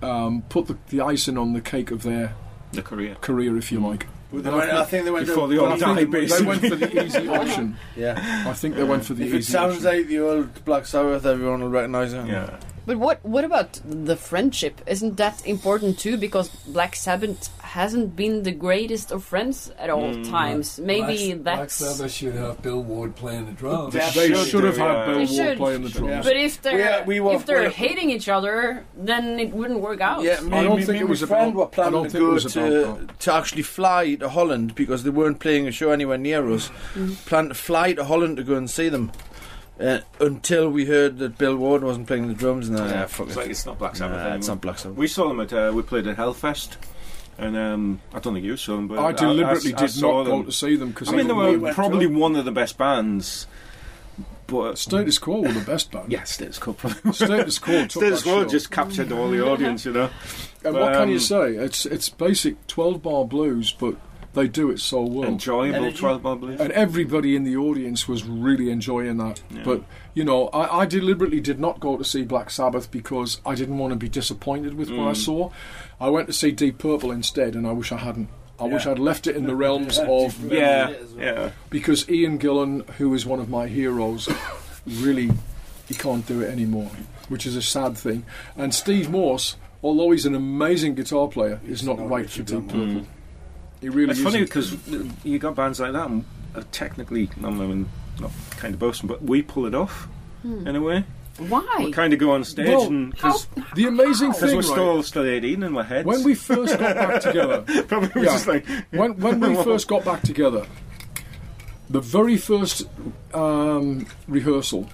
[SPEAKER 2] um, put the, the icing on the cake of their
[SPEAKER 5] the career.
[SPEAKER 2] career, if you like.
[SPEAKER 4] They went- I think they went
[SPEAKER 5] Before
[SPEAKER 4] to-
[SPEAKER 5] the old
[SPEAKER 2] And I
[SPEAKER 5] die,
[SPEAKER 2] think Hmm. they went
[SPEAKER 5] basically.
[SPEAKER 2] for the easy [laughs] option.
[SPEAKER 4] Yeah.
[SPEAKER 2] I think they went for the
[SPEAKER 4] If
[SPEAKER 2] easy
[SPEAKER 4] it sounds
[SPEAKER 2] option.
[SPEAKER 4] like the old Black Sabbath, everyone will recognise it.
[SPEAKER 5] Yeah.
[SPEAKER 1] But what what about the friendship? Isn't that important too? Because Black Sabbath hasn't been the greatest of friends at all
[SPEAKER 4] Hmm,
[SPEAKER 1] times. Maybe
[SPEAKER 7] Black, Black
[SPEAKER 1] that's.
[SPEAKER 7] Sabbath should have Bill Ward playing the drums.
[SPEAKER 5] They
[SPEAKER 2] They
[SPEAKER 5] should
[SPEAKER 2] should have
[SPEAKER 5] do,
[SPEAKER 2] had
[SPEAKER 5] yeah.
[SPEAKER 1] They
[SPEAKER 2] Bill Ward
[SPEAKER 1] should.
[SPEAKER 2] playing the drums.
[SPEAKER 1] But if they're
[SPEAKER 4] Yeah, we were-
[SPEAKER 1] if they're
[SPEAKER 4] we were-
[SPEAKER 1] hating each other, then it wouldn't work out.
[SPEAKER 4] Yeah, me,
[SPEAKER 2] I don't
[SPEAKER 4] me,
[SPEAKER 2] think
[SPEAKER 4] me
[SPEAKER 2] it was
[SPEAKER 4] my
[SPEAKER 2] about-
[SPEAKER 4] friend were
[SPEAKER 2] I don't
[SPEAKER 4] planning to
[SPEAKER 2] think it
[SPEAKER 4] go
[SPEAKER 2] was about
[SPEAKER 4] to, to actually fly to Holland because they weren't playing a show anywhere near us.
[SPEAKER 1] Mm.
[SPEAKER 4] Planned to fly to Holland to go and see them uh, until we heard that Bill Ward wasn't playing the drums.
[SPEAKER 2] Oh,
[SPEAKER 4] And then, yeah, fuck
[SPEAKER 5] it's
[SPEAKER 4] it.
[SPEAKER 5] like it's not Black Sabbath.
[SPEAKER 4] Nah, it's
[SPEAKER 5] anymore.
[SPEAKER 4] not Black Sabbath.
[SPEAKER 5] We saw them at uh, we played at Hellfest, and um, I don't think you saw them, but
[SPEAKER 2] I deliberately
[SPEAKER 5] I- I
[SPEAKER 2] did
[SPEAKER 5] saw
[SPEAKER 2] not
[SPEAKER 5] them.
[SPEAKER 2] go to see them because
[SPEAKER 5] I mean, they were
[SPEAKER 4] went
[SPEAKER 5] probably
[SPEAKER 4] to-
[SPEAKER 5] one of the best bands, but
[SPEAKER 2] Status Quo were the best band.
[SPEAKER 5] yeah, Status Quo.
[SPEAKER 2] [laughs]
[SPEAKER 5] probably-
[SPEAKER 2] Status Quo. took
[SPEAKER 5] Status
[SPEAKER 2] that
[SPEAKER 5] Quo
[SPEAKER 2] show.
[SPEAKER 5] just captured all the audience, you know.
[SPEAKER 2] And what can you
[SPEAKER 5] um,
[SPEAKER 2] say? It's it's basic twelve bar blues, but they do it so well.
[SPEAKER 5] Enjoyable
[SPEAKER 4] Energy.
[SPEAKER 5] twelve bar blues.
[SPEAKER 2] and everybody in the audience was really enjoying that. But you know, I, I deliberately did not go to see Black Sabbath because I didn't want to be disappointed with what I
[SPEAKER 5] Mm.
[SPEAKER 2] saw. I went to see Deep Purple instead, and I wish I hadn't. I wish I'd left it in the realms of
[SPEAKER 5] Yeah, yeah.
[SPEAKER 2] because Ian Gillan, who is one of my heroes, really he can't do it anymore, which is a sad thing. And Steve Morse, although he's an amazing guitar player, is not, right for Deep Purple.
[SPEAKER 5] Mm.
[SPEAKER 2] He really
[SPEAKER 5] It's
[SPEAKER 2] isn't.
[SPEAKER 5] funny because you got bands like that, and uh, technically, I mean, not kind of boasting, but we pull it off in a way. We
[SPEAKER 1] Why?
[SPEAKER 5] kind of go on stage
[SPEAKER 2] Well,
[SPEAKER 5] and because
[SPEAKER 2] the amazing thing,
[SPEAKER 5] we're
[SPEAKER 2] right,
[SPEAKER 5] still still eighteen in our heads.
[SPEAKER 2] when we first got back together,
[SPEAKER 5] [laughs] probably was
[SPEAKER 2] Yeah.
[SPEAKER 5] just like
[SPEAKER 2] when, when
[SPEAKER 5] [laughs]
[SPEAKER 2] we first got back together, the very first um, rehearsal,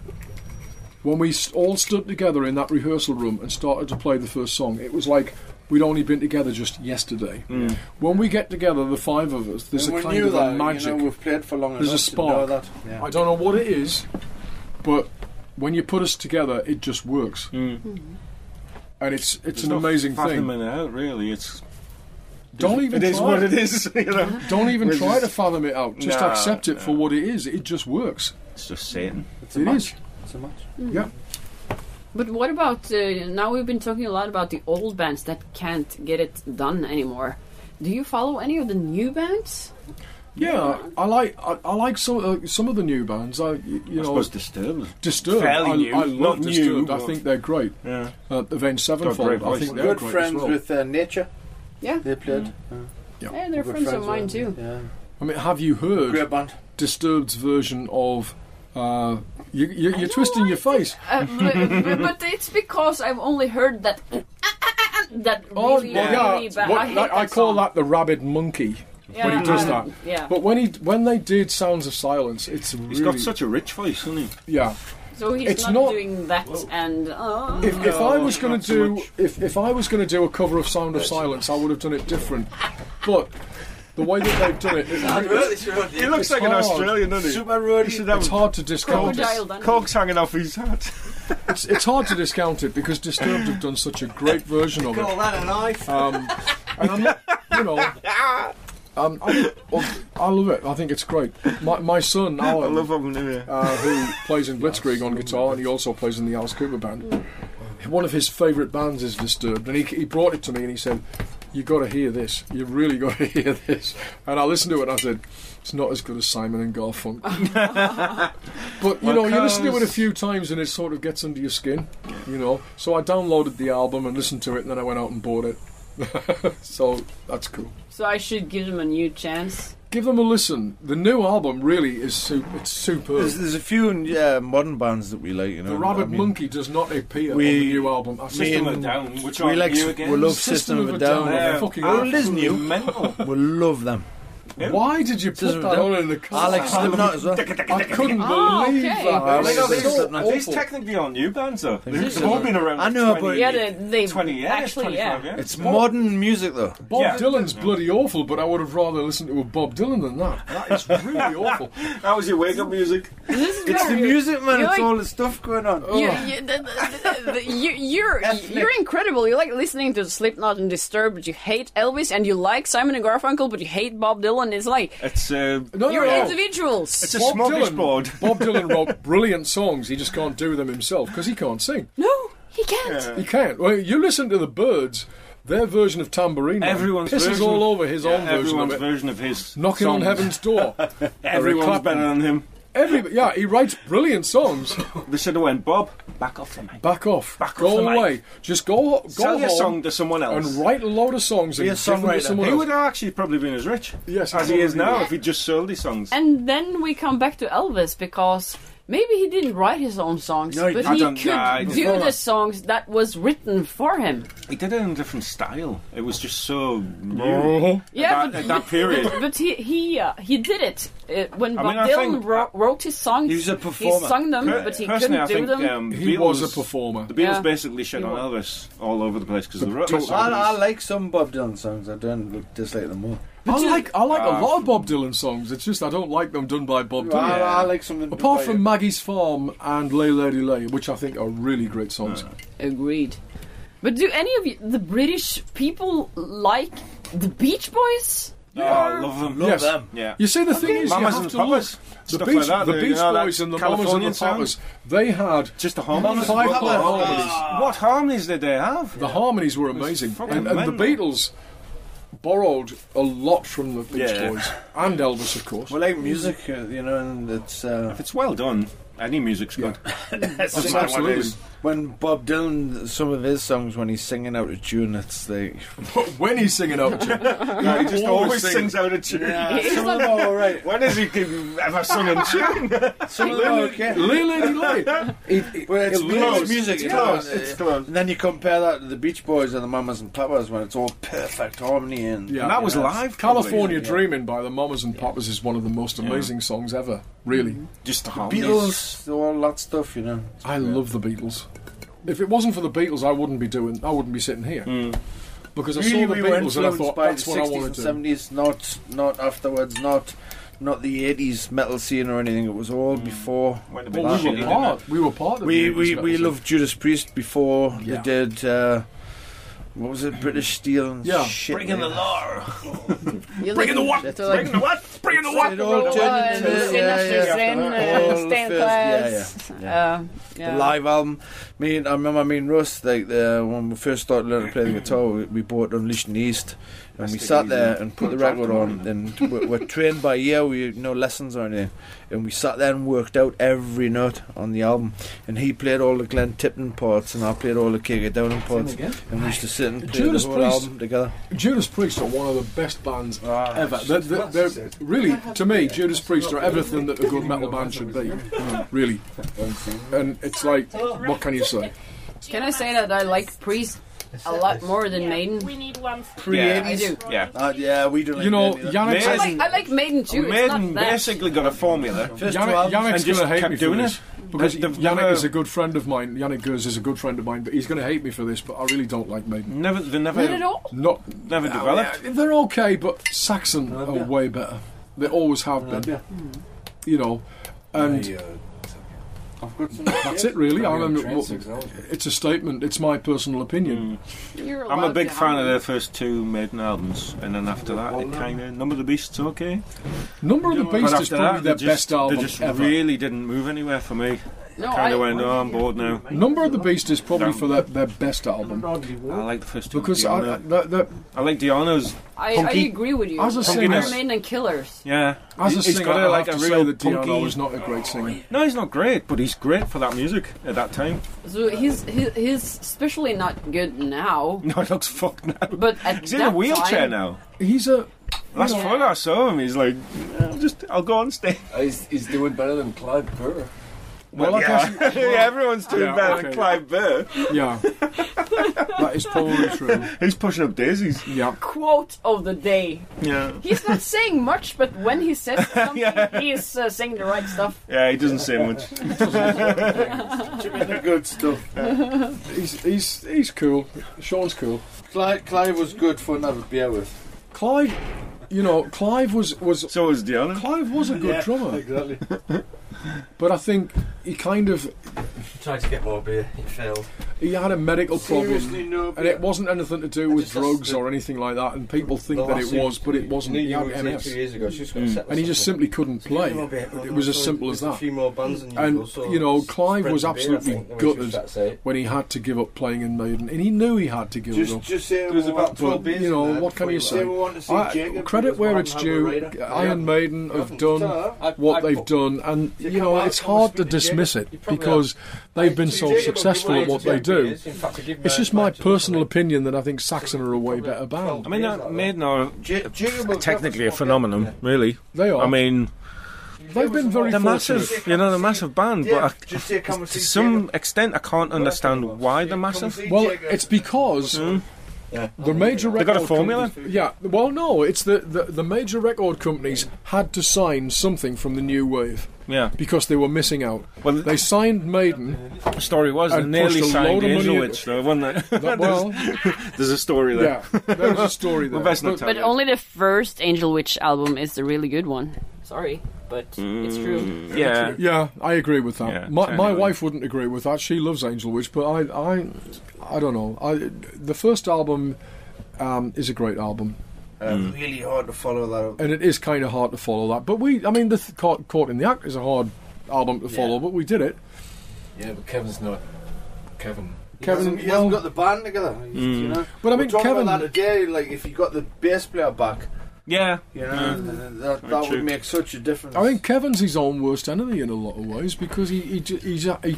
[SPEAKER 2] when we s- all stood together in that rehearsal room and started to play the first song, it was like we'd only been together just yesterday. When we get together, the five of us, there's a
[SPEAKER 4] We
[SPEAKER 2] kind
[SPEAKER 4] knew
[SPEAKER 2] of
[SPEAKER 4] that,
[SPEAKER 2] a
[SPEAKER 4] you know,
[SPEAKER 2] magic.
[SPEAKER 4] we've played for long
[SPEAKER 2] There's a
[SPEAKER 4] enough to know
[SPEAKER 2] spark.
[SPEAKER 4] that. Yeah.
[SPEAKER 2] I don't know what it is, but when you put us together, it just works. And it's it's an
[SPEAKER 5] not
[SPEAKER 2] amazing
[SPEAKER 5] fathoming
[SPEAKER 2] thing.
[SPEAKER 5] It out, really, it's
[SPEAKER 2] Don't even
[SPEAKER 5] it is
[SPEAKER 2] try.
[SPEAKER 5] what it is. [laughs] You know,
[SPEAKER 2] Don't even
[SPEAKER 5] We're
[SPEAKER 2] try
[SPEAKER 5] just-
[SPEAKER 2] to fathom it out. Just
[SPEAKER 5] Nah,
[SPEAKER 2] accept it for what it is. It just works.
[SPEAKER 5] it's just Satan.
[SPEAKER 2] It's a
[SPEAKER 4] It's a match.
[SPEAKER 1] But what about uh, now? We've been talking a lot about the old bands that can't get it done anymore. Do you follow any of the new bands?
[SPEAKER 2] Yeah, I like I, I like some uh, some of the new bands. I you
[SPEAKER 5] I
[SPEAKER 2] know
[SPEAKER 5] suppose disturbed.
[SPEAKER 2] Disturbed.
[SPEAKER 5] fairly
[SPEAKER 2] I,
[SPEAKER 5] new,
[SPEAKER 2] I
[SPEAKER 5] not
[SPEAKER 2] love
[SPEAKER 5] new,
[SPEAKER 2] Disturbed. I
[SPEAKER 5] but-
[SPEAKER 2] think they're great.
[SPEAKER 5] Yeah.
[SPEAKER 2] Uh, Avenged Sevenfold. I
[SPEAKER 5] great
[SPEAKER 2] think
[SPEAKER 5] voices.
[SPEAKER 2] they're
[SPEAKER 4] Good
[SPEAKER 2] great
[SPEAKER 4] friends
[SPEAKER 2] as well.
[SPEAKER 4] with uh, Nature.
[SPEAKER 1] Yeah,
[SPEAKER 4] They played.
[SPEAKER 1] yeah they're
[SPEAKER 4] Good
[SPEAKER 1] friends of
[SPEAKER 4] with
[SPEAKER 1] mine
[SPEAKER 4] them.
[SPEAKER 1] too.
[SPEAKER 4] Yeah.
[SPEAKER 2] I mean, have you heard
[SPEAKER 4] Great band.
[SPEAKER 2] Disturbed's version of? Uh, you, you, you're twisting your face.
[SPEAKER 1] Uh, but, but- but it's because I've only heard that uh, that really,
[SPEAKER 2] Oh
[SPEAKER 1] really bad.
[SPEAKER 2] What-
[SPEAKER 1] I, hate
[SPEAKER 2] like, I call
[SPEAKER 1] song.
[SPEAKER 2] that the rabid monkey
[SPEAKER 1] yeah,
[SPEAKER 2] when he does
[SPEAKER 1] I-
[SPEAKER 2] that.
[SPEAKER 1] Yeah.
[SPEAKER 2] But when he when they did Sounds of Silence, it's really
[SPEAKER 5] He's got such a rich voice, hasn't he?
[SPEAKER 2] yeah.
[SPEAKER 1] so he's
[SPEAKER 2] it's
[SPEAKER 1] not,
[SPEAKER 2] not-
[SPEAKER 1] doing that. And uh,
[SPEAKER 2] If, if I
[SPEAKER 5] No,
[SPEAKER 2] was going
[SPEAKER 5] not
[SPEAKER 2] to
[SPEAKER 5] so
[SPEAKER 2] do
[SPEAKER 5] much.
[SPEAKER 2] if, if I was going to do a cover of Sound of Silence, I would have done it different. But the way that they've done
[SPEAKER 5] [laughs]
[SPEAKER 2] it, it really-
[SPEAKER 5] He looks
[SPEAKER 2] It's
[SPEAKER 5] like an
[SPEAKER 2] hard.
[SPEAKER 5] Australian, doesn't he?
[SPEAKER 4] Super Rudy.
[SPEAKER 5] Should
[SPEAKER 2] it's
[SPEAKER 5] have
[SPEAKER 2] hard to discount.
[SPEAKER 1] Crocodile
[SPEAKER 2] It.
[SPEAKER 1] Dundee.
[SPEAKER 5] corks hanging off his hat.
[SPEAKER 2] It's, it's hard to discount it because Disturbed have done such a great version of it.
[SPEAKER 9] Call that a knife.
[SPEAKER 2] Um, and I'm not, you know, um, I, I love it. I think it's great. My, my son Alan,
[SPEAKER 5] [laughs] I love him. Yeah.
[SPEAKER 2] uh, who plays in Blitzkrieg on guitar and he also plays in the Alice Cooper band. One of his favourite bands is Disturbed, and he, he brought it to me and he said, you got to hear this. You've really got to [laughs] hear this." And I listened to it and I said, "It's not as good as Simon and Garfunkel." but you know, you listen to it a few times and it sort of gets under your skin, you know. So I downloaded the album and listened to it, and then I went out and bought it. [laughs] so that's cool
[SPEAKER 1] so I should give him a new chance.
[SPEAKER 2] give them a listen. The new album really is su- it's superb.
[SPEAKER 4] There's, there's a few yeah, modern bands that we like. You know,
[SPEAKER 2] The
[SPEAKER 4] I
[SPEAKER 2] Rabbit
[SPEAKER 4] mean,
[SPEAKER 2] Monkey does not appear
[SPEAKER 4] we-
[SPEAKER 2] on the new album. I
[SPEAKER 4] me
[SPEAKER 2] think
[SPEAKER 4] and-
[SPEAKER 5] System of a Down, which
[SPEAKER 4] we
[SPEAKER 5] are
[SPEAKER 4] like
[SPEAKER 5] you
[SPEAKER 4] we
[SPEAKER 5] again?
[SPEAKER 4] love System of a Down.
[SPEAKER 2] Yeah.
[SPEAKER 5] Yeah.
[SPEAKER 2] Fucking
[SPEAKER 5] Al
[SPEAKER 2] awful.
[SPEAKER 5] is new. Mental. [laughs]
[SPEAKER 4] We love them.
[SPEAKER 2] Why did you put
[SPEAKER 4] System of
[SPEAKER 2] that
[SPEAKER 4] a
[SPEAKER 2] on in the car?
[SPEAKER 4] Alex [laughs] Slipknot as well.
[SPEAKER 2] I couldn't
[SPEAKER 1] Ah,
[SPEAKER 2] believe
[SPEAKER 1] okay.
[SPEAKER 2] that.
[SPEAKER 4] Oh,
[SPEAKER 2] It's
[SPEAKER 4] they got
[SPEAKER 2] so
[SPEAKER 4] these Slipknot.
[SPEAKER 2] awful.
[SPEAKER 5] These technically are new bands, though. They've
[SPEAKER 4] These
[SPEAKER 5] all
[SPEAKER 4] are-
[SPEAKER 5] been around.
[SPEAKER 4] I know,
[SPEAKER 5] 20,
[SPEAKER 4] but-
[SPEAKER 1] Yeah, they, they
[SPEAKER 5] 20 years,
[SPEAKER 1] actually
[SPEAKER 5] 25
[SPEAKER 1] yeah.
[SPEAKER 5] years.
[SPEAKER 4] It's modern music though.
[SPEAKER 2] Bob
[SPEAKER 5] Yeah.
[SPEAKER 2] Dylan's bloody awful, but I would have rather listened to a Bob Dylan than that. That is really awful.
[SPEAKER 5] That was your wake-up music.
[SPEAKER 1] This is
[SPEAKER 4] It's the
[SPEAKER 1] very-
[SPEAKER 4] music, man.
[SPEAKER 1] You're
[SPEAKER 4] It's
[SPEAKER 1] like-
[SPEAKER 4] all the stuff going on.
[SPEAKER 1] You,
[SPEAKER 2] Oh.
[SPEAKER 1] you, the, the, the, the, you,
[SPEAKER 2] [laughs]
[SPEAKER 1] you're you're incredible. You like listening to Slipknot and Disturbed, but you hate Elvis, and you like Simon and Garfunkel, but you hate Bob Dylan. It's like
[SPEAKER 5] It's uh,
[SPEAKER 2] No,
[SPEAKER 1] you're
[SPEAKER 2] no, no.
[SPEAKER 1] individuals.
[SPEAKER 5] it's a
[SPEAKER 2] Bob
[SPEAKER 5] smorgasbord.
[SPEAKER 2] Dylan, [laughs] Bob Dylan wrote brilliant songs. He just can't do them himself because he can't sing.
[SPEAKER 1] no, he can't.
[SPEAKER 5] Yeah.
[SPEAKER 2] He can't. Well, you listen to the Birds. Their version of Tambourine Man
[SPEAKER 5] Everyone's
[SPEAKER 2] pisses
[SPEAKER 5] version-
[SPEAKER 2] all over his
[SPEAKER 5] yeah,
[SPEAKER 2] own version of
[SPEAKER 5] everyone's
[SPEAKER 2] it.
[SPEAKER 5] version of his
[SPEAKER 2] Knocking on
[SPEAKER 5] songs.
[SPEAKER 2] heaven's door.
[SPEAKER 5] Everyone's
[SPEAKER 2] Clapton.
[SPEAKER 5] better than him.
[SPEAKER 2] Every yeah, he writes brilliant songs.
[SPEAKER 5] They should have went, Bob, back off the mic.
[SPEAKER 2] Back off.
[SPEAKER 5] Back
[SPEAKER 2] go
[SPEAKER 5] off the mic.
[SPEAKER 2] away. Just go go
[SPEAKER 5] Sell
[SPEAKER 2] home
[SPEAKER 5] your song to someone
[SPEAKER 2] and
[SPEAKER 5] else.
[SPEAKER 2] write a load of songs and
[SPEAKER 4] Be a
[SPEAKER 2] give them to
[SPEAKER 4] songwriter.
[SPEAKER 2] someone
[SPEAKER 5] he
[SPEAKER 2] else.
[SPEAKER 5] would have actually probably been as rich
[SPEAKER 2] Yes,
[SPEAKER 5] as he is
[SPEAKER 2] probably.
[SPEAKER 5] now if he just sold his songs.
[SPEAKER 1] And then we come back to Elvis because maybe he didn't write his own songs,
[SPEAKER 2] No, he-
[SPEAKER 1] but
[SPEAKER 5] I
[SPEAKER 1] he
[SPEAKER 5] don't-
[SPEAKER 1] could
[SPEAKER 5] nah, he didn't.
[SPEAKER 1] do the songs that was written for him.
[SPEAKER 5] He did it in a different style. It was just so new.
[SPEAKER 2] Oh.
[SPEAKER 1] Yeah,
[SPEAKER 5] that,
[SPEAKER 1] but,
[SPEAKER 5] at that period.
[SPEAKER 1] but he he uh, he did it uh, when
[SPEAKER 5] I
[SPEAKER 1] Bob
[SPEAKER 5] mean, I
[SPEAKER 1] Dylan
[SPEAKER 5] think-
[SPEAKER 1] wro- wrote his songs.
[SPEAKER 4] He was a performer.
[SPEAKER 1] He sung them, [laughs]
[SPEAKER 5] Per-
[SPEAKER 1] but he couldn't
[SPEAKER 5] personally,
[SPEAKER 1] do
[SPEAKER 5] I think
[SPEAKER 1] them.
[SPEAKER 5] Um,
[SPEAKER 2] He
[SPEAKER 5] Beatles-
[SPEAKER 2] was a performer.
[SPEAKER 5] The Beatles
[SPEAKER 1] Yeah.
[SPEAKER 5] basically shit
[SPEAKER 1] He
[SPEAKER 5] on
[SPEAKER 1] wa-
[SPEAKER 5] Elvis all over the place because they wrote
[SPEAKER 2] to-
[SPEAKER 5] songs.
[SPEAKER 4] I, I like some Bob Dylan songs. I don't dislike them all.
[SPEAKER 2] I like I like
[SPEAKER 5] Uh,
[SPEAKER 2] a lot of Bob Dylan songs. It's just I don't like them done by Bob Dylan.
[SPEAKER 4] I, I like something.
[SPEAKER 2] Apart from Maggie's Farm and Lay Lady Lay, which I think are really great songs.
[SPEAKER 5] Ah.
[SPEAKER 1] Agreed. But do any of you, the British people like the Beach Boys?
[SPEAKER 5] Oh, I love them.
[SPEAKER 2] Yes.
[SPEAKER 5] Yeah.
[SPEAKER 2] You see, the thing is, you
[SPEAKER 5] Mamas
[SPEAKER 2] have
[SPEAKER 5] and
[SPEAKER 2] to
[SPEAKER 5] Papas.
[SPEAKER 2] look. The
[SPEAKER 5] Stuff
[SPEAKER 2] Beach,
[SPEAKER 5] like that,
[SPEAKER 2] the
[SPEAKER 5] you
[SPEAKER 2] Beach
[SPEAKER 5] know, that
[SPEAKER 2] Boys and the Mamas and
[SPEAKER 5] Californian
[SPEAKER 2] the Papas,
[SPEAKER 5] sound.
[SPEAKER 2] they had
[SPEAKER 5] Just the harmonies.
[SPEAKER 2] Five
[SPEAKER 5] What
[SPEAKER 2] Papas. Ah.
[SPEAKER 5] harmonies. What harmonies did they have?
[SPEAKER 2] the harmonies were amazing,
[SPEAKER 5] fucking
[SPEAKER 2] and, and the
[SPEAKER 5] mental.
[SPEAKER 2] Beatles borrowed a lot from the Beach
[SPEAKER 5] Yeah.
[SPEAKER 2] Boys and Elvis, of course.
[SPEAKER 4] we like music, uh, you know, and it's uh,
[SPEAKER 5] If it's well done, any music's good. [laughs] Doesn't matter what it
[SPEAKER 2] Absolutely.
[SPEAKER 5] is.
[SPEAKER 4] when Bob Dylan some of his songs when he's singing out of tune. It's like
[SPEAKER 2] But when he's singing out,
[SPEAKER 5] No, he just always,
[SPEAKER 2] sings.
[SPEAKER 5] sings out of tune.
[SPEAKER 4] some of them are alright.
[SPEAKER 5] When has he g- ever sung in
[SPEAKER 1] [laughs]
[SPEAKER 5] tune?
[SPEAKER 4] Some of them are okay.
[SPEAKER 2] Lay Lady Lay,
[SPEAKER 4] Well, it's,
[SPEAKER 2] It
[SPEAKER 4] Beatles
[SPEAKER 2] blows.
[SPEAKER 4] music. you know,
[SPEAKER 5] close.
[SPEAKER 4] uh,
[SPEAKER 5] It's close.
[SPEAKER 4] And then you compare that to the Beach Boys and the Mamas and Papas when it's all perfect harmony and
[SPEAKER 2] Yeah.
[SPEAKER 5] And that was
[SPEAKER 4] Yeah,
[SPEAKER 5] live. probably.
[SPEAKER 2] California Dreaming by the Mamas and Papas is one of the most amazing songs ever. Really,
[SPEAKER 5] Just the harmonies.
[SPEAKER 4] Beatles, all that stuff, you know.
[SPEAKER 2] I love the Beatles. If it wasn't for the Beatles, I wouldn't be doing. I wouldn't be sitting here because I
[SPEAKER 4] Really,
[SPEAKER 2] saw the
[SPEAKER 4] we were
[SPEAKER 2] Beatles and I
[SPEAKER 4] influenced
[SPEAKER 2] thought
[SPEAKER 4] by
[SPEAKER 2] that's
[SPEAKER 4] the
[SPEAKER 2] what I want to do.
[SPEAKER 4] and 70s, not not afterwards, not not the 80s metal scene or anything. It was
[SPEAKER 2] Mm.
[SPEAKER 4] all before.
[SPEAKER 5] When the
[SPEAKER 2] Well,
[SPEAKER 5] big
[SPEAKER 2] we
[SPEAKER 5] shit,
[SPEAKER 2] were
[SPEAKER 5] didn't it?
[SPEAKER 2] part. We were part of.
[SPEAKER 4] We
[SPEAKER 2] the
[SPEAKER 4] we,
[SPEAKER 2] Beatles,
[SPEAKER 4] we
[SPEAKER 2] actually.
[SPEAKER 4] loved Judas Priest before
[SPEAKER 2] Yeah.
[SPEAKER 4] they did. Uh, what was it? British Steel and
[SPEAKER 2] Yeah.
[SPEAKER 4] shit.
[SPEAKER 5] Breaking the law.
[SPEAKER 1] You
[SPEAKER 5] Breaking the
[SPEAKER 1] listen
[SPEAKER 5] what?
[SPEAKER 1] to, like,
[SPEAKER 5] Breaking the what? Breaking the what?
[SPEAKER 4] It all turned
[SPEAKER 1] Rowan,
[SPEAKER 4] into yeah,
[SPEAKER 1] Sinister
[SPEAKER 4] yeah,
[SPEAKER 1] Sin,
[SPEAKER 4] yeah. All
[SPEAKER 1] uh,
[SPEAKER 4] the
[SPEAKER 1] Stained
[SPEAKER 4] first- yeah, yeah.
[SPEAKER 1] Glass, uh, yeah.
[SPEAKER 4] the live album. Me and I remember me and Russ, like the, when we first started learning to play the guitar, we, we bought Unleashed in the East, and
[SPEAKER 5] That's
[SPEAKER 4] we
[SPEAKER 5] the
[SPEAKER 4] sat there
[SPEAKER 5] easy.
[SPEAKER 4] and put the
[SPEAKER 5] Drop
[SPEAKER 4] record
[SPEAKER 5] them
[SPEAKER 4] on,
[SPEAKER 5] on.
[SPEAKER 4] and we're, we're trained by ear. We had no lessons or anything, and we sat there and worked out every note on the album. And he played all the Glenn Tipton parts, and I played all the Kick It Down parts, and we used to sit and play
[SPEAKER 2] Judas
[SPEAKER 4] the whole
[SPEAKER 2] Priest.
[SPEAKER 4] album together.
[SPEAKER 2] Judas Priest are one of the best bands
[SPEAKER 5] Ah,
[SPEAKER 2] ever. They're, they're, they're- really, to me, Judas Priest are everything that a good metal band should be. [laughs] Really, and it's like, what can you say?
[SPEAKER 1] Can I say that I like Priest a lot more than Maiden?
[SPEAKER 10] We need one.
[SPEAKER 4] Pre
[SPEAKER 5] Yeah.
[SPEAKER 1] I do.
[SPEAKER 5] Yeah.
[SPEAKER 4] Uh, yeah, we don't.
[SPEAKER 2] You know,
[SPEAKER 4] like that either.
[SPEAKER 2] Yannick
[SPEAKER 1] I
[SPEAKER 5] Amazing.
[SPEAKER 1] like, I like Maiden too. it's not
[SPEAKER 5] Maiden
[SPEAKER 1] that.
[SPEAKER 5] basically got a formula.
[SPEAKER 4] First two
[SPEAKER 2] Yannick,
[SPEAKER 4] albums,
[SPEAKER 2] Yannick's
[SPEAKER 5] and
[SPEAKER 2] going
[SPEAKER 5] just
[SPEAKER 2] to hate
[SPEAKER 5] kept
[SPEAKER 2] me for
[SPEAKER 5] doing
[SPEAKER 2] this
[SPEAKER 5] it.
[SPEAKER 2] because
[SPEAKER 5] They've
[SPEAKER 2] Yannick
[SPEAKER 5] never-
[SPEAKER 2] is a good friend of mine. Yannick Gers is a good friend of mine, but he's going to hate me for this. But I really don't like Maiden.
[SPEAKER 5] Never, they never,
[SPEAKER 1] Not at all.
[SPEAKER 2] Not
[SPEAKER 5] never developed.
[SPEAKER 2] they're okay, but Saxon are way better. They always have been. You know, and
[SPEAKER 7] uh,
[SPEAKER 2] that's it really. I mean, well, it's a statement. It's my personal opinion.
[SPEAKER 1] You're
[SPEAKER 5] I'm a
[SPEAKER 1] allowed
[SPEAKER 5] big
[SPEAKER 1] to
[SPEAKER 5] fan
[SPEAKER 1] have
[SPEAKER 5] of
[SPEAKER 1] it.
[SPEAKER 5] their first two Maiden albums, and then after that, it kind of Number of the Beast's okay.
[SPEAKER 2] Number of the
[SPEAKER 5] Hmm. But
[SPEAKER 2] Beast is
[SPEAKER 5] after
[SPEAKER 2] probably
[SPEAKER 5] that,
[SPEAKER 2] their
[SPEAKER 5] they
[SPEAKER 2] best
[SPEAKER 5] just,
[SPEAKER 2] album
[SPEAKER 5] They just
[SPEAKER 2] ever.
[SPEAKER 5] really didn't move anywhere for me.
[SPEAKER 1] No,
[SPEAKER 5] kind
[SPEAKER 1] I,
[SPEAKER 5] of went, oh, I'm bored now.
[SPEAKER 2] Number of the Beast is probably
[SPEAKER 5] No.
[SPEAKER 2] for their, their best album
[SPEAKER 5] I like the first two.
[SPEAKER 2] because I,
[SPEAKER 5] Diana.
[SPEAKER 2] the, the,
[SPEAKER 5] I, like Diana's.
[SPEAKER 1] I, I
[SPEAKER 2] Punky-
[SPEAKER 1] agree with you.
[SPEAKER 2] As a
[SPEAKER 1] Iron
[SPEAKER 5] singer-
[SPEAKER 1] Maiden and Killers.
[SPEAKER 5] Yeah,
[SPEAKER 2] as a
[SPEAKER 5] He's
[SPEAKER 2] singer,
[SPEAKER 5] got a,
[SPEAKER 2] I
[SPEAKER 5] like
[SPEAKER 2] have
[SPEAKER 5] a
[SPEAKER 2] to
[SPEAKER 5] real
[SPEAKER 2] say that Diano
[SPEAKER 5] punky- Oh,
[SPEAKER 2] is not a great singer.
[SPEAKER 5] No, he's not great, but he's great for that music at that time.
[SPEAKER 1] So he's he, he's especially not good now,
[SPEAKER 5] [laughs] No, he looks fucked now.
[SPEAKER 1] but at
[SPEAKER 5] He's
[SPEAKER 1] that
[SPEAKER 5] in a wheelchair
[SPEAKER 1] time,
[SPEAKER 5] now.
[SPEAKER 2] He's a
[SPEAKER 5] Last
[SPEAKER 1] Yeah.
[SPEAKER 5] photo I saw him, he's like, I'll just, I'll go on [laughs] stage.
[SPEAKER 7] Uh, He's, he's doing better than Clive Burr.
[SPEAKER 2] well, I
[SPEAKER 5] [laughs] yeah.
[SPEAKER 2] guess
[SPEAKER 5] yeah, everyone's doing
[SPEAKER 2] Yeah,
[SPEAKER 5] better
[SPEAKER 2] okay.
[SPEAKER 5] than Clive Burr. [laughs]
[SPEAKER 2] yeah, that is probably true.
[SPEAKER 5] He's pushing up daisies.
[SPEAKER 2] Yeah,
[SPEAKER 1] Quote of the day.
[SPEAKER 5] Yeah.
[SPEAKER 1] He's not [laughs] saying much, but when he says
[SPEAKER 5] [laughs]
[SPEAKER 1] something, he is uh, saying the right stuff.
[SPEAKER 5] Yeah, he doesn't say much.
[SPEAKER 4] good stuff.
[SPEAKER 2] he's he's he's cool. Sean's cool.
[SPEAKER 4] Clive, Clive was good for another beer with.
[SPEAKER 7] [laughs]
[SPEAKER 2] Clive, you know, Clive was was
[SPEAKER 5] So is Diana.
[SPEAKER 2] Clive was a good drummer,
[SPEAKER 4] Exactly.
[SPEAKER 2] but I think he kind of
[SPEAKER 9] Tried to get more beer, it failed.
[SPEAKER 2] He had a medical problem.
[SPEAKER 7] Seriously, no.
[SPEAKER 2] And it wasn't anything to do
[SPEAKER 7] I
[SPEAKER 2] with
[SPEAKER 7] just-
[SPEAKER 2] drugs or anything like that, and people think that it was, but it wasn't. He had
[SPEAKER 9] Two
[SPEAKER 2] MS.
[SPEAKER 9] years ago, she's got settled
[SPEAKER 2] Mm. And he just
[SPEAKER 9] something.
[SPEAKER 2] simply couldn't play. It was as simple as
[SPEAKER 9] Just A
[SPEAKER 2] that.
[SPEAKER 9] few more buns than
[SPEAKER 2] And,
[SPEAKER 9] usual, so
[SPEAKER 2] you know,
[SPEAKER 9] spread
[SPEAKER 2] Clive
[SPEAKER 9] the
[SPEAKER 2] was
[SPEAKER 9] beer, I
[SPEAKER 2] absolutely
[SPEAKER 9] think, the way she was
[SPEAKER 2] gutted.
[SPEAKER 9] about to say it.
[SPEAKER 2] When he had to give up playing in Maiden, and he knew he had to give it
[SPEAKER 7] Just,
[SPEAKER 2] up.
[SPEAKER 7] just say
[SPEAKER 9] There was
[SPEAKER 7] we
[SPEAKER 9] about
[SPEAKER 7] want-
[SPEAKER 9] 12 beers
[SPEAKER 2] you know,
[SPEAKER 9] in there
[SPEAKER 2] what can
[SPEAKER 9] before
[SPEAKER 2] you
[SPEAKER 9] you
[SPEAKER 2] say?
[SPEAKER 7] Say we want to see
[SPEAKER 2] I-
[SPEAKER 7] Jacob.
[SPEAKER 2] credit
[SPEAKER 7] because
[SPEAKER 2] where
[SPEAKER 7] Bob
[SPEAKER 2] it's
[SPEAKER 7] Hammer
[SPEAKER 2] due.
[SPEAKER 7] Raider.
[SPEAKER 2] Iron Maiden have done
[SPEAKER 7] Sir,
[SPEAKER 2] what they've done, and
[SPEAKER 7] You
[SPEAKER 2] you
[SPEAKER 7] come
[SPEAKER 2] know
[SPEAKER 7] out
[SPEAKER 2] it's
[SPEAKER 7] on the
[SPEAKER 2] hard to
[SPEAKER 7] street together,
[SPEAKER 2] dismiss it
[SPEAKER 9] probably
[SPEAKER 2] because they've been
[SPEAKER 9] Hey,
[SPEAKER 2] so
[SPEAKER 9] Jacob,
[SPEAKER 2] successful
[SPEAKER 9] give
[SPEAKER 2] at
[SPEAKER 9] away
[SPEAKER 2] what
[SPEAKER 9] some
[SPEAKER 2] they do.
[SPEAKER 9] beers. In fact, I give
[SPEAKER 2] It's
[SPEAKER 9] mine
[SPEAKER 2] just
[SPEAKER 9] back
[SPEAKER 2] my
[SPEAKER 9] to the
[SPEAKER 2] personal
[SPEAKER 9] public.
[SPEAKER 2] opinion that I think Saxon are a way better
[SPEAKER 5] I
[SPEAKER 2] band.
[SPEAKER 5] mean, that Maiden are
[SPEAKER 9] Ja- Jacob will-
[SPEAKER 5] technically a phenomenon, really.
[SPEAKER 2] They are.
[SPEAKER 5] I mean,
[SPEAKER 2] they've been very
[SPEAKER 5] they're
[SPEAKER 2] fortunate.
[SPEAKER 5] massive. You know, they're a massive band, but I,
[SPEAKER 7] Yeah, just say come and see
[SPEAKER 5] to some
[SPEAKER 7] Jacob.
[SPEAKER 5] extent, I can't understand why they're
[SPEAKER 7] Come and
[SPEAKER 5] massive.
[SPEAKER 7] see
[SPEAKER 2] Well,
[SPEAKER 7] Jacob.
[SPEAKER 2] it's because
[SPEAKER 9] Yeah.
[SPEAKER 2] the major
[SPEAKER 5] They
[SPEAKER 2] record
[SPEAKER 5] got a formula.
[SPEAKER 2] companies- yeah. Well, no, it's the, the the major record companies had to sign something from the new wave
[SPEAKER 5] Yeah.
[SPEAKER 2] because they were missing out.
[SPEAKER 5] Well,
[SPEAKER 2] They
[SPEAKER 5] the
[SPEAKER 2] signed Maiden.
[SPEAKER 5] story was they
[SPEAKER 2] And
[SPEAKER 5] nearly
[SPEAKER 2] pushed a load
[SPEAKER 5] signed
[SPEAKER 2] of money-
[SPEAKER 5] Angelwich, though, wasn't it?
[SPEAKER 2] That- well,
[SPEAKER 5] [laughs] There's a story there.
[SPEAKER 2] yeah, there's a story there.
[SPEAKER 5] Well, best not
[SPEAKER 2] But-
[SPEAKER 5] tell
[SPEAKER 1] But
[SPEAKER 5] you.
[SPEAKER 1] only the first Angel Witch album is the really good one. Sorry, but it's
[SPEAKER 5] Mm.
[SPEAKER 1] true.
[SPEAKER 5] Yeah.
[SPEAKER 2] yeah, I agree with that.
[SPEAKER 5] Yeah,
[SPEAKER 2] my my
[SPEAKER 5] totally.
[SPEAKER 2] wife wouldn't agree with that. She loves Angel Witch, but I I I don't know. I the first album um, is a great album,
[SPEAKER 5] Mm.
[SPEAKER 9] Um, Really hard to follow that. up.
[SPEAKER 2] and it is kind of hard to follow that. But we, I mean, the th- caught, caught in the act is a hard album to follow, but we did it.
[SPEAKER 7] yeah, but Kevin's not Kevin.
[SPEAKER 2] Kevin,
[SPEAKER 9] he hasn't, he hasn't
[SPEAKER 2] well-
[SPEAKER 9] got the band together.
[SPEAKER 5] Mm.
[SPEAKER 9] You know,
[SPEAKER 2] But I
[SPEAKER 9] We're
[SPEAKER 2] mean,
[SPEAKER 9] talking
[SPEAKER 2] Kevin,
[SPEAKER 9] about that today. Like, if you got the bass player back,
[SPEAKER 5] Yeah.
[SPEAKER 9] you know, that,
[SPEAKER 5] Mm. Very
[SPEAKER 9] that
[SPEAKER 5] true.
[SPEAKER 9] would make such a difference.
[SPEAKER 2] I think Kevin's his own worst enemy in a lot of ways because he he, ju- he's a, he